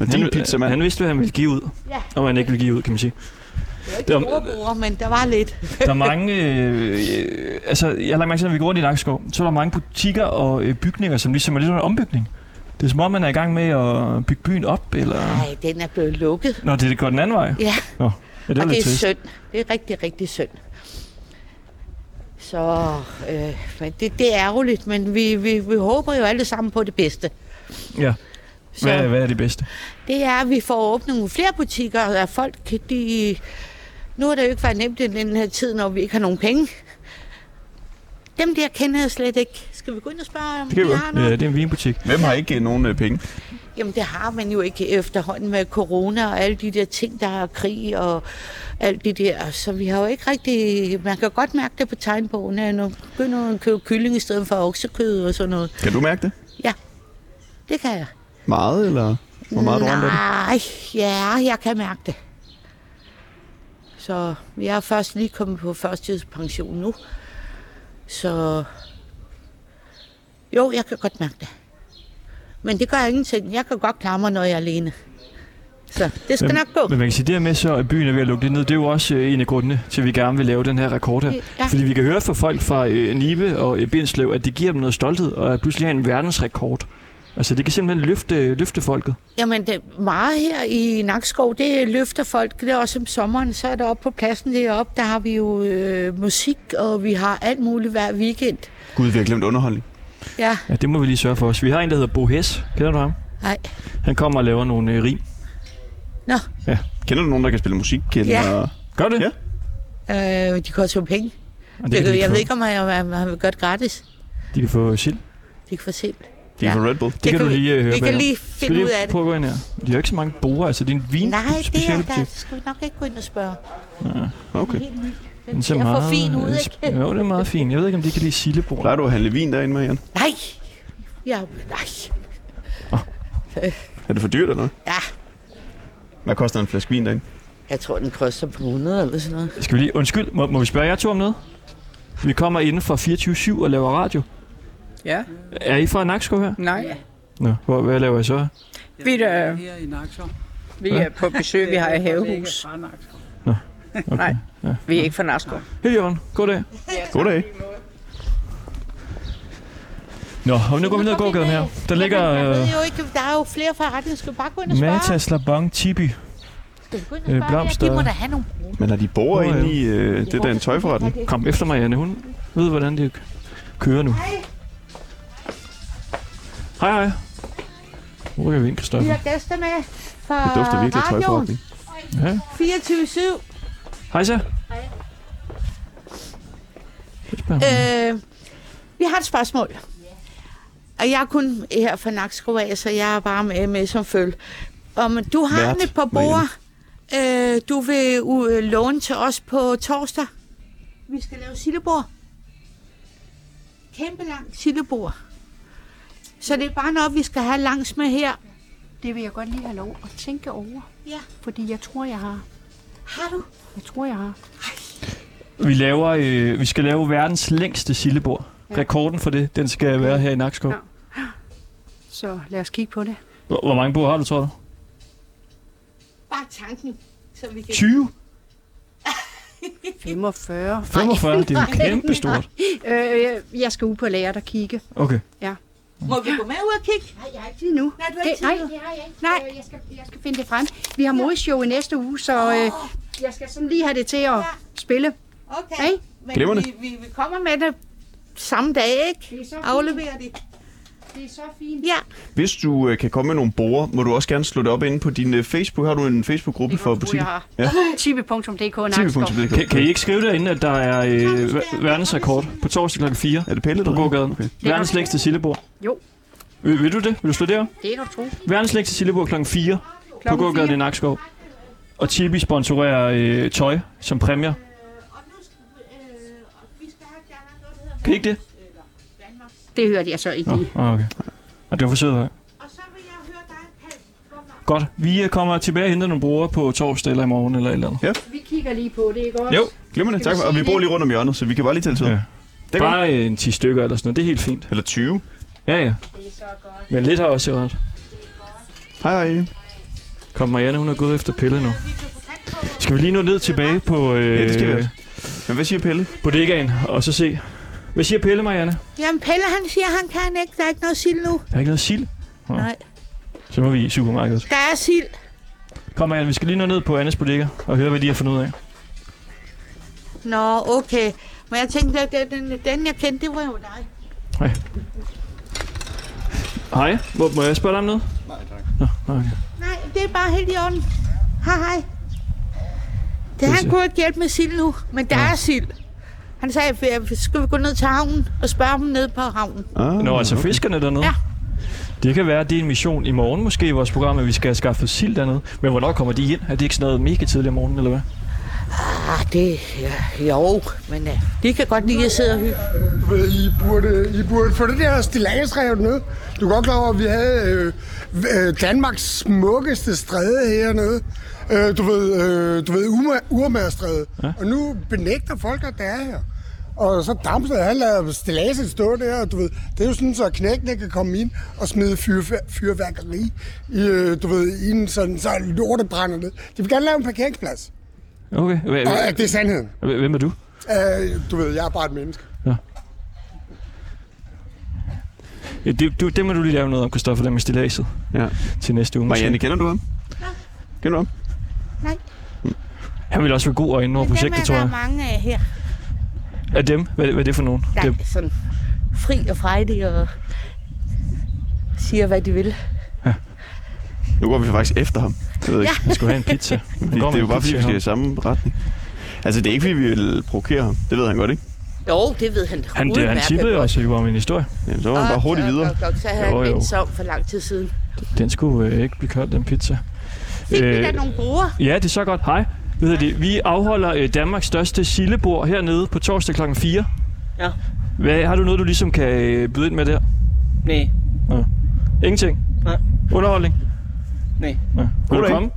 Speaker 2: Og din pizza, mand.
Speaker 1: han vidste, hvad han ville give ud.
Speaker 9: Ja.
Speaker 1: Og hvad han ikke ville give ud, kan man sige. Det var,
Speaker 9: Storebroder, men der var lidt.
Speaker 1: der er mange... Øh, øh, altså, jeg har lagt mærke til, når vi går rundt i Nakskov, så er der mange butikker og øh, bygninger, som ligesom er lidt under ombygning. Det er som om, man er i gang med at bygge byen op, eller...
Speaker 9: Nej, den er blevet lukket.
Speaker 1: Nå, det, det går den anden vej.
Speaker 9: Ja,
Speaker 1: Nå, ja, det
Speaker 9: og
Speaker 1: var
Speaker 9: det
Speaker 1: lidt
Speaker 9: er
Speaker 1: trist.
Speaker 9: synd. Det er rigtig, rigtig synd. Så øh, men det, det er ærgerligt, men vi, vi, vi håber jo alle sammen på det bedste.
Speaker 1: Ja.
Speaker 9: Så
Speaker 1: Hvad, hvad er det bedste?
Speaker 9: det er, at vi får åbnet nogle flere butikker, og at folk kan de... Nu har det jo ikke været nemt i den her tid, når vi ikke har nogen penge. Dem der kender jeg slet ikke. Skal vi gå ind og spørge, om
Speaker 2: kan vi
Speaker 9: de
Speaker 2: godt.
Speaker 9: har noget?
Speaker 1: Ja, det er en vinbutik.
Speaker 2: Hvem har ikke øh, nogen øh, penge?
Speaker 9: Jamen det har man jo ikke efterhånden med corona og alle de der ting, der er krig og alt det der. Så vi har jo ikke rigtig... Man kan godt mærke det på tegnbogen, at nu begynder man at købe kylling i stedet for oksekød og sådan noget.
Speaker 2: Kan du mærke det?
Speaker 9: Ja, det kan jeg.
Speaker 2: Meget, eller hvor meget du ramte af det?
Speaker 9: Nej, ja, jeg kan mærke det. Så jeg er først lige kommet på førstidspension nu. Så jo, jeg kan godt mærke det. Men det gør ingenting. Jeg kan godt klare mig, når jeg er alene. Så det skal nok gå.
Speaker 1: Men man kan sige, det her med så, at byen er ved at lukke lidt ned, det er jo også øh, en af grundene til, at vi gerne vil lave den her rekord her.
Speaker 9: Ja.
Speaker 1: Fordi vi kan høre fra folk fra øh, Nibe og øh, Bindslev, at det giver dem noget stolthed, og at pludselig have en verdensrekord. Altså, det kan simpelthen løfte, løfte folket.
Speaker 9: Jamen, det, meget her i Nakskov, det løfter folk. Det er også om sommeren, så er der oppe på pladsen deroppe, der har vi jo øh, musik, og vi har alt muligt hver weekend.
Speaker 2: Gud, vi har glemt underholdning.
Speaker 9: Ja,
Speaker 1: Ja, det må vi lige sørge for os. Vi har en, der hedder Bo Hess. Kender du ham?
Speaker 9: nej.
Speaker 1: Han kommer og laver nogle øh, rim.
Speaker 9: Nå,
Speaker 1: Ja.
Speaker 2: Kender du nogen, der kan spille musik? Eller... Ja.
Speaker 1: Gør det?
Speaker 2: Ja.
Speaker 9: øh, de koster jo penge.
Speaker 1: Og
Speaker 9: Det,
Speaker 1: kan de
Speaker 9: jeg
Speaker 1: få-
Speaker 9: ved ikke, om jeg, om jeg vil gøre det gratis.
Speaker 1: De kan få sild.
Speaker 9: Det kan for sent.
Speaker 2: De kan
Speaker 9: Ja.
Speaker 2: få Red Bull.
Speaker 1: Det, det kan,
Speaker 9: kan
Speaker 1: du
Speaker 9: vi-
Speaker 1: lige øh, høre
Speaker 9: vi
Speaker 1: bag
Speaker 9: kan
Speaker 1: om.
Speaker 9: lige
Speaker 1: Skal vi
Speaker 9: finde ud
Speaker 1: lige
Speaker 9: af det.
Speaker 1: prøve at gå ind her? De har ikke så mange borer, altså det er en vin
Speaker 9: Nej, det er der.
Speaker 1: specialbutik.
Speaker 9: Det skal vi nok ikke gå ind og spørge.
Speaker 2: Okay.
Speaker 9: Helt ny.
Speaker 1: Den
Speaker 9: Den
Speaker 1: ser
Speaker 9: ser for
Speaker 1: meget,
Speaker 9: fin ud,
Speaker 1: øh,
Speaker 9: ikke?
Speaker 1: sp- Jo, det er meget fint. Jeg ved ikke, om de kan lide sildebord.
Speaker 2: Plejer du at handle vin derinde, Marianne?
Speaker 9: Nej. Ja, nej.
Speaker 2: Er det for dyrt eller noget?
Speaker 9: Ja,
Speaker 2: Hvad koster en flaske vin derinde?
Speaker 9: jeg tror, den koster på 100 eller sådan noget.
Speaker 1: Skal vi lige... Undskyld, må, må vi spørge jer to om noget? Vi kommer inden fra 24-7 og laver radio.
Speaker 11: Ja,
Speaker 1: Er I fra Nakskov her?
Speaker 7: Mm.
Speaker 11: nej.
Speaker 1: Nå, hvor, hvad laver I så? her?
Speaker 11: Vi, er,
Speaker 12: Her i Naksom.
Speaker 11: vi er på besøg, vi har et havehus.
Speaker 1: Okay.
Speaker 11: Nej, vi er ikke fra Narskov.
Speaker 1: Hej Jørgen, goddag.
Speaker 2: Goddag.
Speaker 1: Nå, og nu går vi ned ad gågaden her. Der ligger
Speaker 9: Jeg
Speaker 1: øh,
Speaker 9: ved jo ikke, der er jo flere forretninger. Skal vi bare gå ind og spørge?
Speaker 1: Matas Labong Tibi.
Speaker 9: Skal vi gå ind og
Speaker 1: øh,
Speaker 9: spørge? Ja,
Speaker 1: blomster.
Speaker 9: de må da have nogle
Speaker 2: Men har de borer
Speaker 1: Nå, ja.
Speaker 2: inde i øh, det der en tøjforretning?
Speaker 1: Kom efter mig, Anne. Hun ved, hvordan det kører nu. Hej, hej. Nu rykker vi ind,
Speaker 9: Vi
Speaker 1: Christoffer.
Speaker 9: har gæster med fra
Speaker 2: Det dufter virkelig af
Speaker 9: radioen.
Speaker 2: tøjforretning.
Speaker 9: 24-7.
Speaker 1: Hej så.
Speaker 9: Øh, vi har et spørgsmål. Og jeg er kun her fra Nakskov af, så jeg er bare med, med som følge. Om du har
Speaker 2: Vært,
Speaker 9: et par borer, øh, du vil uh, låne til os på torsdag. Vi skal lave sillebord. Kæmpe langt sillebord. Så det er bare noget, vi skal have langs med her.
Speaker 10: Det vil jeg godt lige have lov at tænke over.
Speaker 9: Ja.
Speaker 10: Fordi jeg tror, jeg har.
Speaker 9: Har du?
Speaker 10: Jeg tror, jeg har.
Speaker 1: Vi, laver, øh, vi skal lave verdens længste sillebord. Rekorden for det, den skal være her i Nakskov.
Speaker 10: Ja. Så lad os kigge på det.
Speaker 1: Hvor, hvor mange bord har du, tror du?
Speaker 9: Bare tanken, så vi kan...
Speaker 1: 20?
Speaker 10: 45.
Speaker 1: 45? Det er jo kæmpe stort.
Speaker 10: Øh, jeg skal ud på lager og kigge.
Speaker 1: Okay.
Speaker 9: Må vi gå med ud og kigge?
Speaker 10: Nej, jeg har ikke lige nu.
Speaker 9: Nej, du har
Speaker 10: Det,
Speaker 9: ikke
Speaker 10: nej,
Speaker 9: tid nu.
Speaker 10: det har jeg ikke.
Speaker 9: Nej.
Speaker 10: Øh, Jeg skal, jeg skal finde det frem. Vi har modeshow i næste uge, så øh, jeg skal sådan lige have det til at spille.
Speaker 9: Okay.
Speaker 10: Hey.
Speaker 2: Glimrende.
Speaker 9: Men vi, vi, vi kommer med det samme dag,
Speaker 10: Det
Speaker 9: ikke?
Speaker 10: er så fint.
Speaker 9: Afleverer det.
Speaker 10: Det er så fint.
Speaker 9: Ja.
Speaker 2: Hvis du øh, kan komme med nogle borer, må du også gerne slå det op inde på din øh, Facebook. Har du en Facebook-gruppe
Speaker 10: Det
Speaker 2: for
Speaker 10: kan du tro,
Speaker 2: butikken?
Speaker 10: jeg har.
Speaker 2: Ja.
Speaker 10: Tibe.dk Nakskov.
Speaker 2: TV.dk.
Speaker 1: Kan, kan I ikke skrive derinde, at der er øh, ver- verdensrekord på torsdag kl. 4
Speaker 2: Er det Pelle, der
Speaker 1: på
Speaker 2: ringer?
Speaker 1: gågaden? Okay. Verdens længste sillebord.
Speaker 10: Jo.
Speaker 1: Vil, vil du det? Vil du slå det op?
Speaker 10: Det er nok tro.
Speaker 1: Verdens længste sillebord kl. 4 på gågaden i Nakskov. Og Tibi sponsorerer øh, tøj som præmier. Kan I ikke det?
Speaker 10: Det hørte jeg så ikke lige.
Speaker 1: Nå, ah, okay. Og det var for sødt, hva'?
Speaker 9: Og så vil jeg høre dig, Palle.
Speaker 1: Godt. Vi øh, kommer tilbage og henter nogle brugere på torsdag eller i morgen eller et eller andet.
Speaker 10: Vi kigger lige på det, ikke også?
Speaker 1: Jo.
Speaker 2: Glimrende, tak. for- Og vi bor lige rundt om hjørnet, så vi kan bare lige tælle til.
Speaker 1: Ja.
Speaker 2: Det er godt.
Speaker 1: Bare øh, en 10 stykker eller sådan noget. Det er helt fint.
Speaker 2: Eller 20.
Speaker 1: Ja, ja. Men lidt har også ret.
Speaker 2: Hej, hej.
Speaker 1: Kom, Marianne, hun er gået efter pille nu. Skal vi lige nå ned tilbage på, øh,
Speaker 2: Ja, det skal vi også. Men hvad siger Pelle?
Speaker 1: bodegaen og så se? Hvad siger Pelle, Marianne?
Speaker 9: Jamen, Pelle, han siger, han kan ikke. Der er ikke noget sild nu.
Speaker 1: Der er ikke noget sild. Nå.
Speaker 9: Nej.
Speaker 1: Så må vi i supermarkedet.
Speaker 9: Der er sild.
Speaker 1: Kom, Marianne, vi skal lige nå ned på Annes bodega og høre, hvad de har fundet ud af.
Speaker 9: Nå, okay. Men jeg tænkte, at den- den, den jeg kendte, det var jo dig.
Speaker 1: Hej, må, må jeg spørge dig om noget? Nej, tak. Nå, okay.
Speaker 9: Nej, det er bare helt i orden. Hej, hej. Det,
Speaker 1: siger-
Speaker 9: han kunne ikke hjælpe med sild nu, men der ja. er sild. Han sagde, "F- skal vi gå ned til havnen og spørge dem ned på havnen?
Speaker 2: Ah,
Speaker 1: Nå, altså fiskerne dernede?
Speaker 9: Ja.
Speaker 1: Det kan være, at det er en mission i morgen måske i vores program, at vi skal have skaffet sild dernede. Men hvornår kommer de ind? Er det ikke sådan noget mega tidligt om morgenen, eller hvad?
Speaker 9: Ah, det... Ja, jo, men
Speaker 12: øh,
Speaker 9: uh, de kan godt lide at sidde og hygge.
Speaker 13: ved, I burde, I burde få det der stillagsrev ned. Du er godt klar over, at vi havde øh, øh, Danmarks smukkeste stræde hernede. Øh, du ved, øh, du ved Urma- Urmagerstræde. Ja. Og nu benægter folk, at det er her. Og så Damsted, han lader stilladset stå der, og du ved, det er jo sådan, så knækkene kan komme ind og smide fyr, fyrværkeri, i, øh, du ved, i en sådan, så lortet brænder ned. De vil gerne lave en parkeringsplads.
Speaker 1: Okay, hva-
Speaker 13: Og
Speaker 1: hva-
Speaker 13: øh, det er sandheden.
Speaker 1: hva- hvem er du?
Speaker 13: Øh, du ved, jeg er bare et menneske.
Speaker 1: Ja, Det, du, det må du lige lave noget om, Kristoffer, der med stillaset
Speaker 2: ja.
Speaker 1: til næste uge.
Speaker 2: Marianne, kender du ham? Kender du ham?
Speaker 12: Nej.
Speaker 1: Han vil også være god og inde over
Speaker 12: Dem er
Speaker 1: projektet, tror
Speaker 12: der
Speaker 1: jeg.
Speaker 12: mange af her.
Speaker 1: Af dem? Hvad, hvad er det for nogen?
Speaker 12: Der
Speaker 1: Dem.
Speaker 12: er sådan fri og frejdig og siger, hvad de vil.
Speaker 2: Nu går vi faktisk efter ham. Jeg ved ikke.
Speaker 12: Ja. Vi skulle have en pizza.
Speaker 2: Vi-
Speaker 1: går
Speaker 2: det
Speaker 1: med
Speaker 2: er jo
Speaker 1: en
Speaker 2: bare,
Speaker 1: pizza
Speaker 2: fordi vi
Speaker 1: i
Speaker 2: skal i
Speaker 1: hånden.
Speaker 2: samme retning. Altså, det er ikke, fordi vi vil provokere ham. Det ved han godt, ikke?
Speaker 12: Jo, det ved han. udmærket godt.
Speaker 1: også jo om en historie.
Speaker 2: Jamen, så var han bare hurtigt videre.
Speaker 12: Godt, godt, så havde
Speaker 1: Jo,
Speaker 12: han
Speaker 1: jo.
Speaker 12: vendt sig om for lang tid siden.
Speaker 1: Den skulle øh, ikke blive kørt, den pizza.
Speaker 12: Fik
Speaker 1: Øh,
Speaker 12: vi da nogle brugere?
Speaker 1: Ja, det er så godt. Hej. Hvad hedder det? Vi afholder øh, Danmarks største sillebord hernede på torsdag kl. 4.
Speaker 11: Ja.
Speaker 1: Hvad, har du noget, du ligesom kan øh, byde ind med der?
Speaker 11: Nej.
Speaker 1: Nå. Ingenting?
Speaker 11: Nej.
Speaker 1: Underholdning?
Speaker 11: Nej.
Speaker 1: Nå. Vil du
Speaker 11: Goddag.
Speaker 1: komme?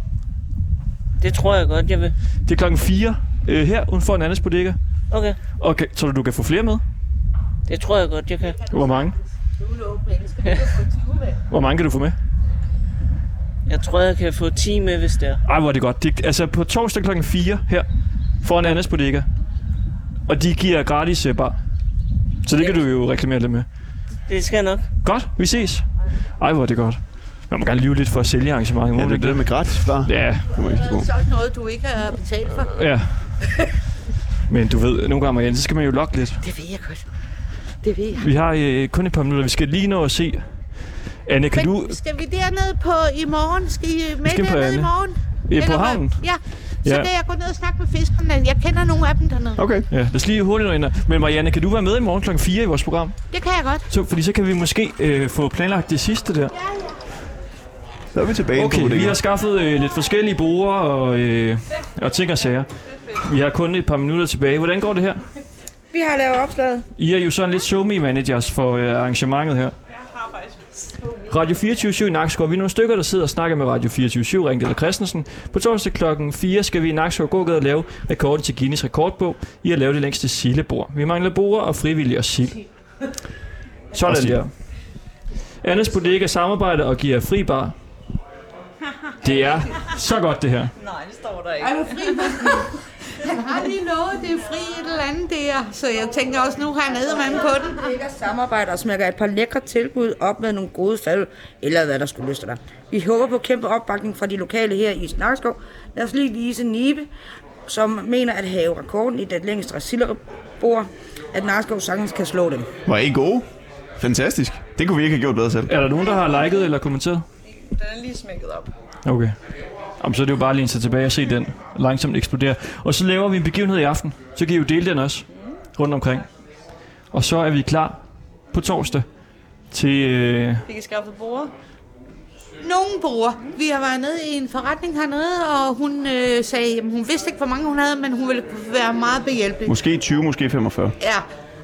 Speaker 11: Det tror jeg godt, jeg vil.
Speaker 1: Det er klokken 4 øh, her uden for en andens bodega.
Speaker 11: Okay.
Speaker 1: Og kan, tror du, du kan få flere med?
Speaker 11: Det tror jeg godt, jeg kan.
Speaker 1: Hvor mange? Hvor mange kan du få med?
Speaker 11: Jeg tror, jeg kan få 10 med, hvis det er.
Speaker 1: Ej, hvor er det godt. Det, altså på torsdag klokken 4 her foran Annas Bodega. Og de giver gratis øh, bar. Så det kan du jo reklamere lidt med.
Speaker 11: Det skal jeg nok.
Speaker 1: Godt, vi ses. Ej, hvor er det godt. Man må gerne lyve lidt for at sælge arrangementet. Ja, det er det
Speaker 2: med gratis bar.
Speaker 1: Ja.
Speaker 9: Sådan noget, du ikke har betalt for.
Speaker 1: Ja. Men du ved, øh, nogle gange, Marianne, så skal man jo lokke lidt.
Speaker 9: Det ved jeg godt. Det ved jeg.
Speaker 1: Vi har øh, kun et par minutter. Vi skal lige nå at se. Anne, kan du...
Speaker 9: Men skal vi dernede på i morgen? Skal I med
Speaker 1: skal på
Speaker 9: dernede i
Speaker 1: Anne.
Speaker 9: morgen?
Speaker 1: Ja, på
Speaker 9: Eller hvad?
Speaker 1: havnen.
Speaker 9: Ja. Så
Speaker 1: Ja.
Speaker 9: kan jeg gå ned og snakke med fiskerne. Jeg kender nogle af dem dernede.
Speaker 1: Ja, lad os lige hurtigt nå ind. her. Men Marianne, kan du være med i morgen klokken 4 i vores program?
Speaker 9: Det kan jeg godt.
Speaker 1: Så, fordi så kan vi måske øh, få planlagt det sidste der.
Speaker 2: Så er vi tilbage på
Speaker 1: Okay,
Speaker 2: det.
Speaker 1: vi har skaffet øh, lidt forskellige borer og, øh, og ting og sager. Vi har kun et par minutter tilbage. Hvordan går det her?
Speaker 14: Vi har lavet opslaget.
Speaker 1: I er jo sådan lidt show me managers for øh, arrangementet her. Radio 24 i Nakskov. Vi er nogle stykker, der sidder og snakker med Radio 24 Ring eller Christensen. På torsdag kl. 4 skal vi i Nakskov Gågade og lave rekorden til Guinness rekordbog. I har lavet det længste sillebord. Vi mangler borer og frivillige og sild. Sådan
Speaker 2: Og sild.
Speaker 1: der. Anders Bodega samarbejder og giver fri bar. Det er så godt det her.
Speaker 9: Nej, det står der ikke. Er du fri? Han har lige lovet, det er fri et eller andet der. Så jeg tænker også, nu har han eddermame på den.
Speaker 6: Samarbejder og smækker et par lækre tilbud op med nogle gode fald, eller hvad der skulle lyste dig. Vi håber på kæmpe opbakning fra de lokale her i Snakskov. Lad os lige vise Nibe, som mener at have rekorden i det længste silderbord, at Narskov sagtens kan slå dem.
Speaker 2: Var I gode? Fantastisk. Det kunne vi ikke have gjort bedre selv.
Speaker 1: Er der nogen, der har liket eller kommenteret?
Speaker 11: Den er lige smækket op.
Speaker 1: Okay. Jamen, så er det jo bare at læne sig tilbage og se den langsomt eksplodere. Og så laver vi en begivenhed i aften. Så kan I jo dele den også rundt omkring. Og så er vi klar på torsdag til... Øh,
Speaker 9: Fik I skaffet bruger? Nogen bruger. Vi har været nede i en forretning hernede, og hun øh, sagde, at hun vidste ikke, hvor mange hun havde, men hun ville være meget behjælpelig.
Speaker 2: Måske 20, måske 45.
Speaker 9: Ja,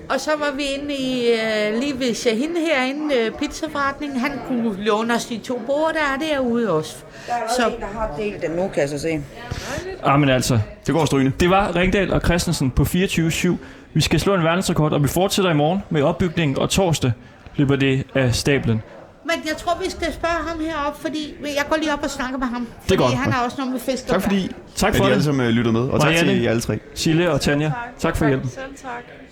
Speaker 9: og så var vi inde i, øh, lige ved Shahin herinde, øh, pizzaforretningen. Han kunne låne os de to borde, der er derude også.
Speaker 6: Der er også en, der har delt dem nu, kan jeg så se.
Speaker 1: ah, men altså...
Speaker 2: Det går strygende.
Speaker 1: Det var Ringdal og Christensen på 24-7. Vi skal slå en verdensrekord, og vi fortsætter i morgen med opbygningen, og torsdag løber det af stablen.
Speaker 9: Men jeg tror, vi skal spørge ham heroppe, fordi jeg går lige op og snakker med ham.
Speaker 1: er godt.
Speaker 9: Fordi han har også noget med fisk at
Speaker 2: Tak fordi
Speaker 9: gøre.
Speaker 1: Tak
Speaker 2: at
Speaker 1: for
Speaker 2: I
Speaker 1: det.
Speaker 2: alle sammen øh, lyttede med. Og tak
Speaker 1: Marianne,
Speaker 2: til jer alle tre.
Speaker 1: Sille og Tanja, tak for hjælpen.
Speaker 9: Selv tak.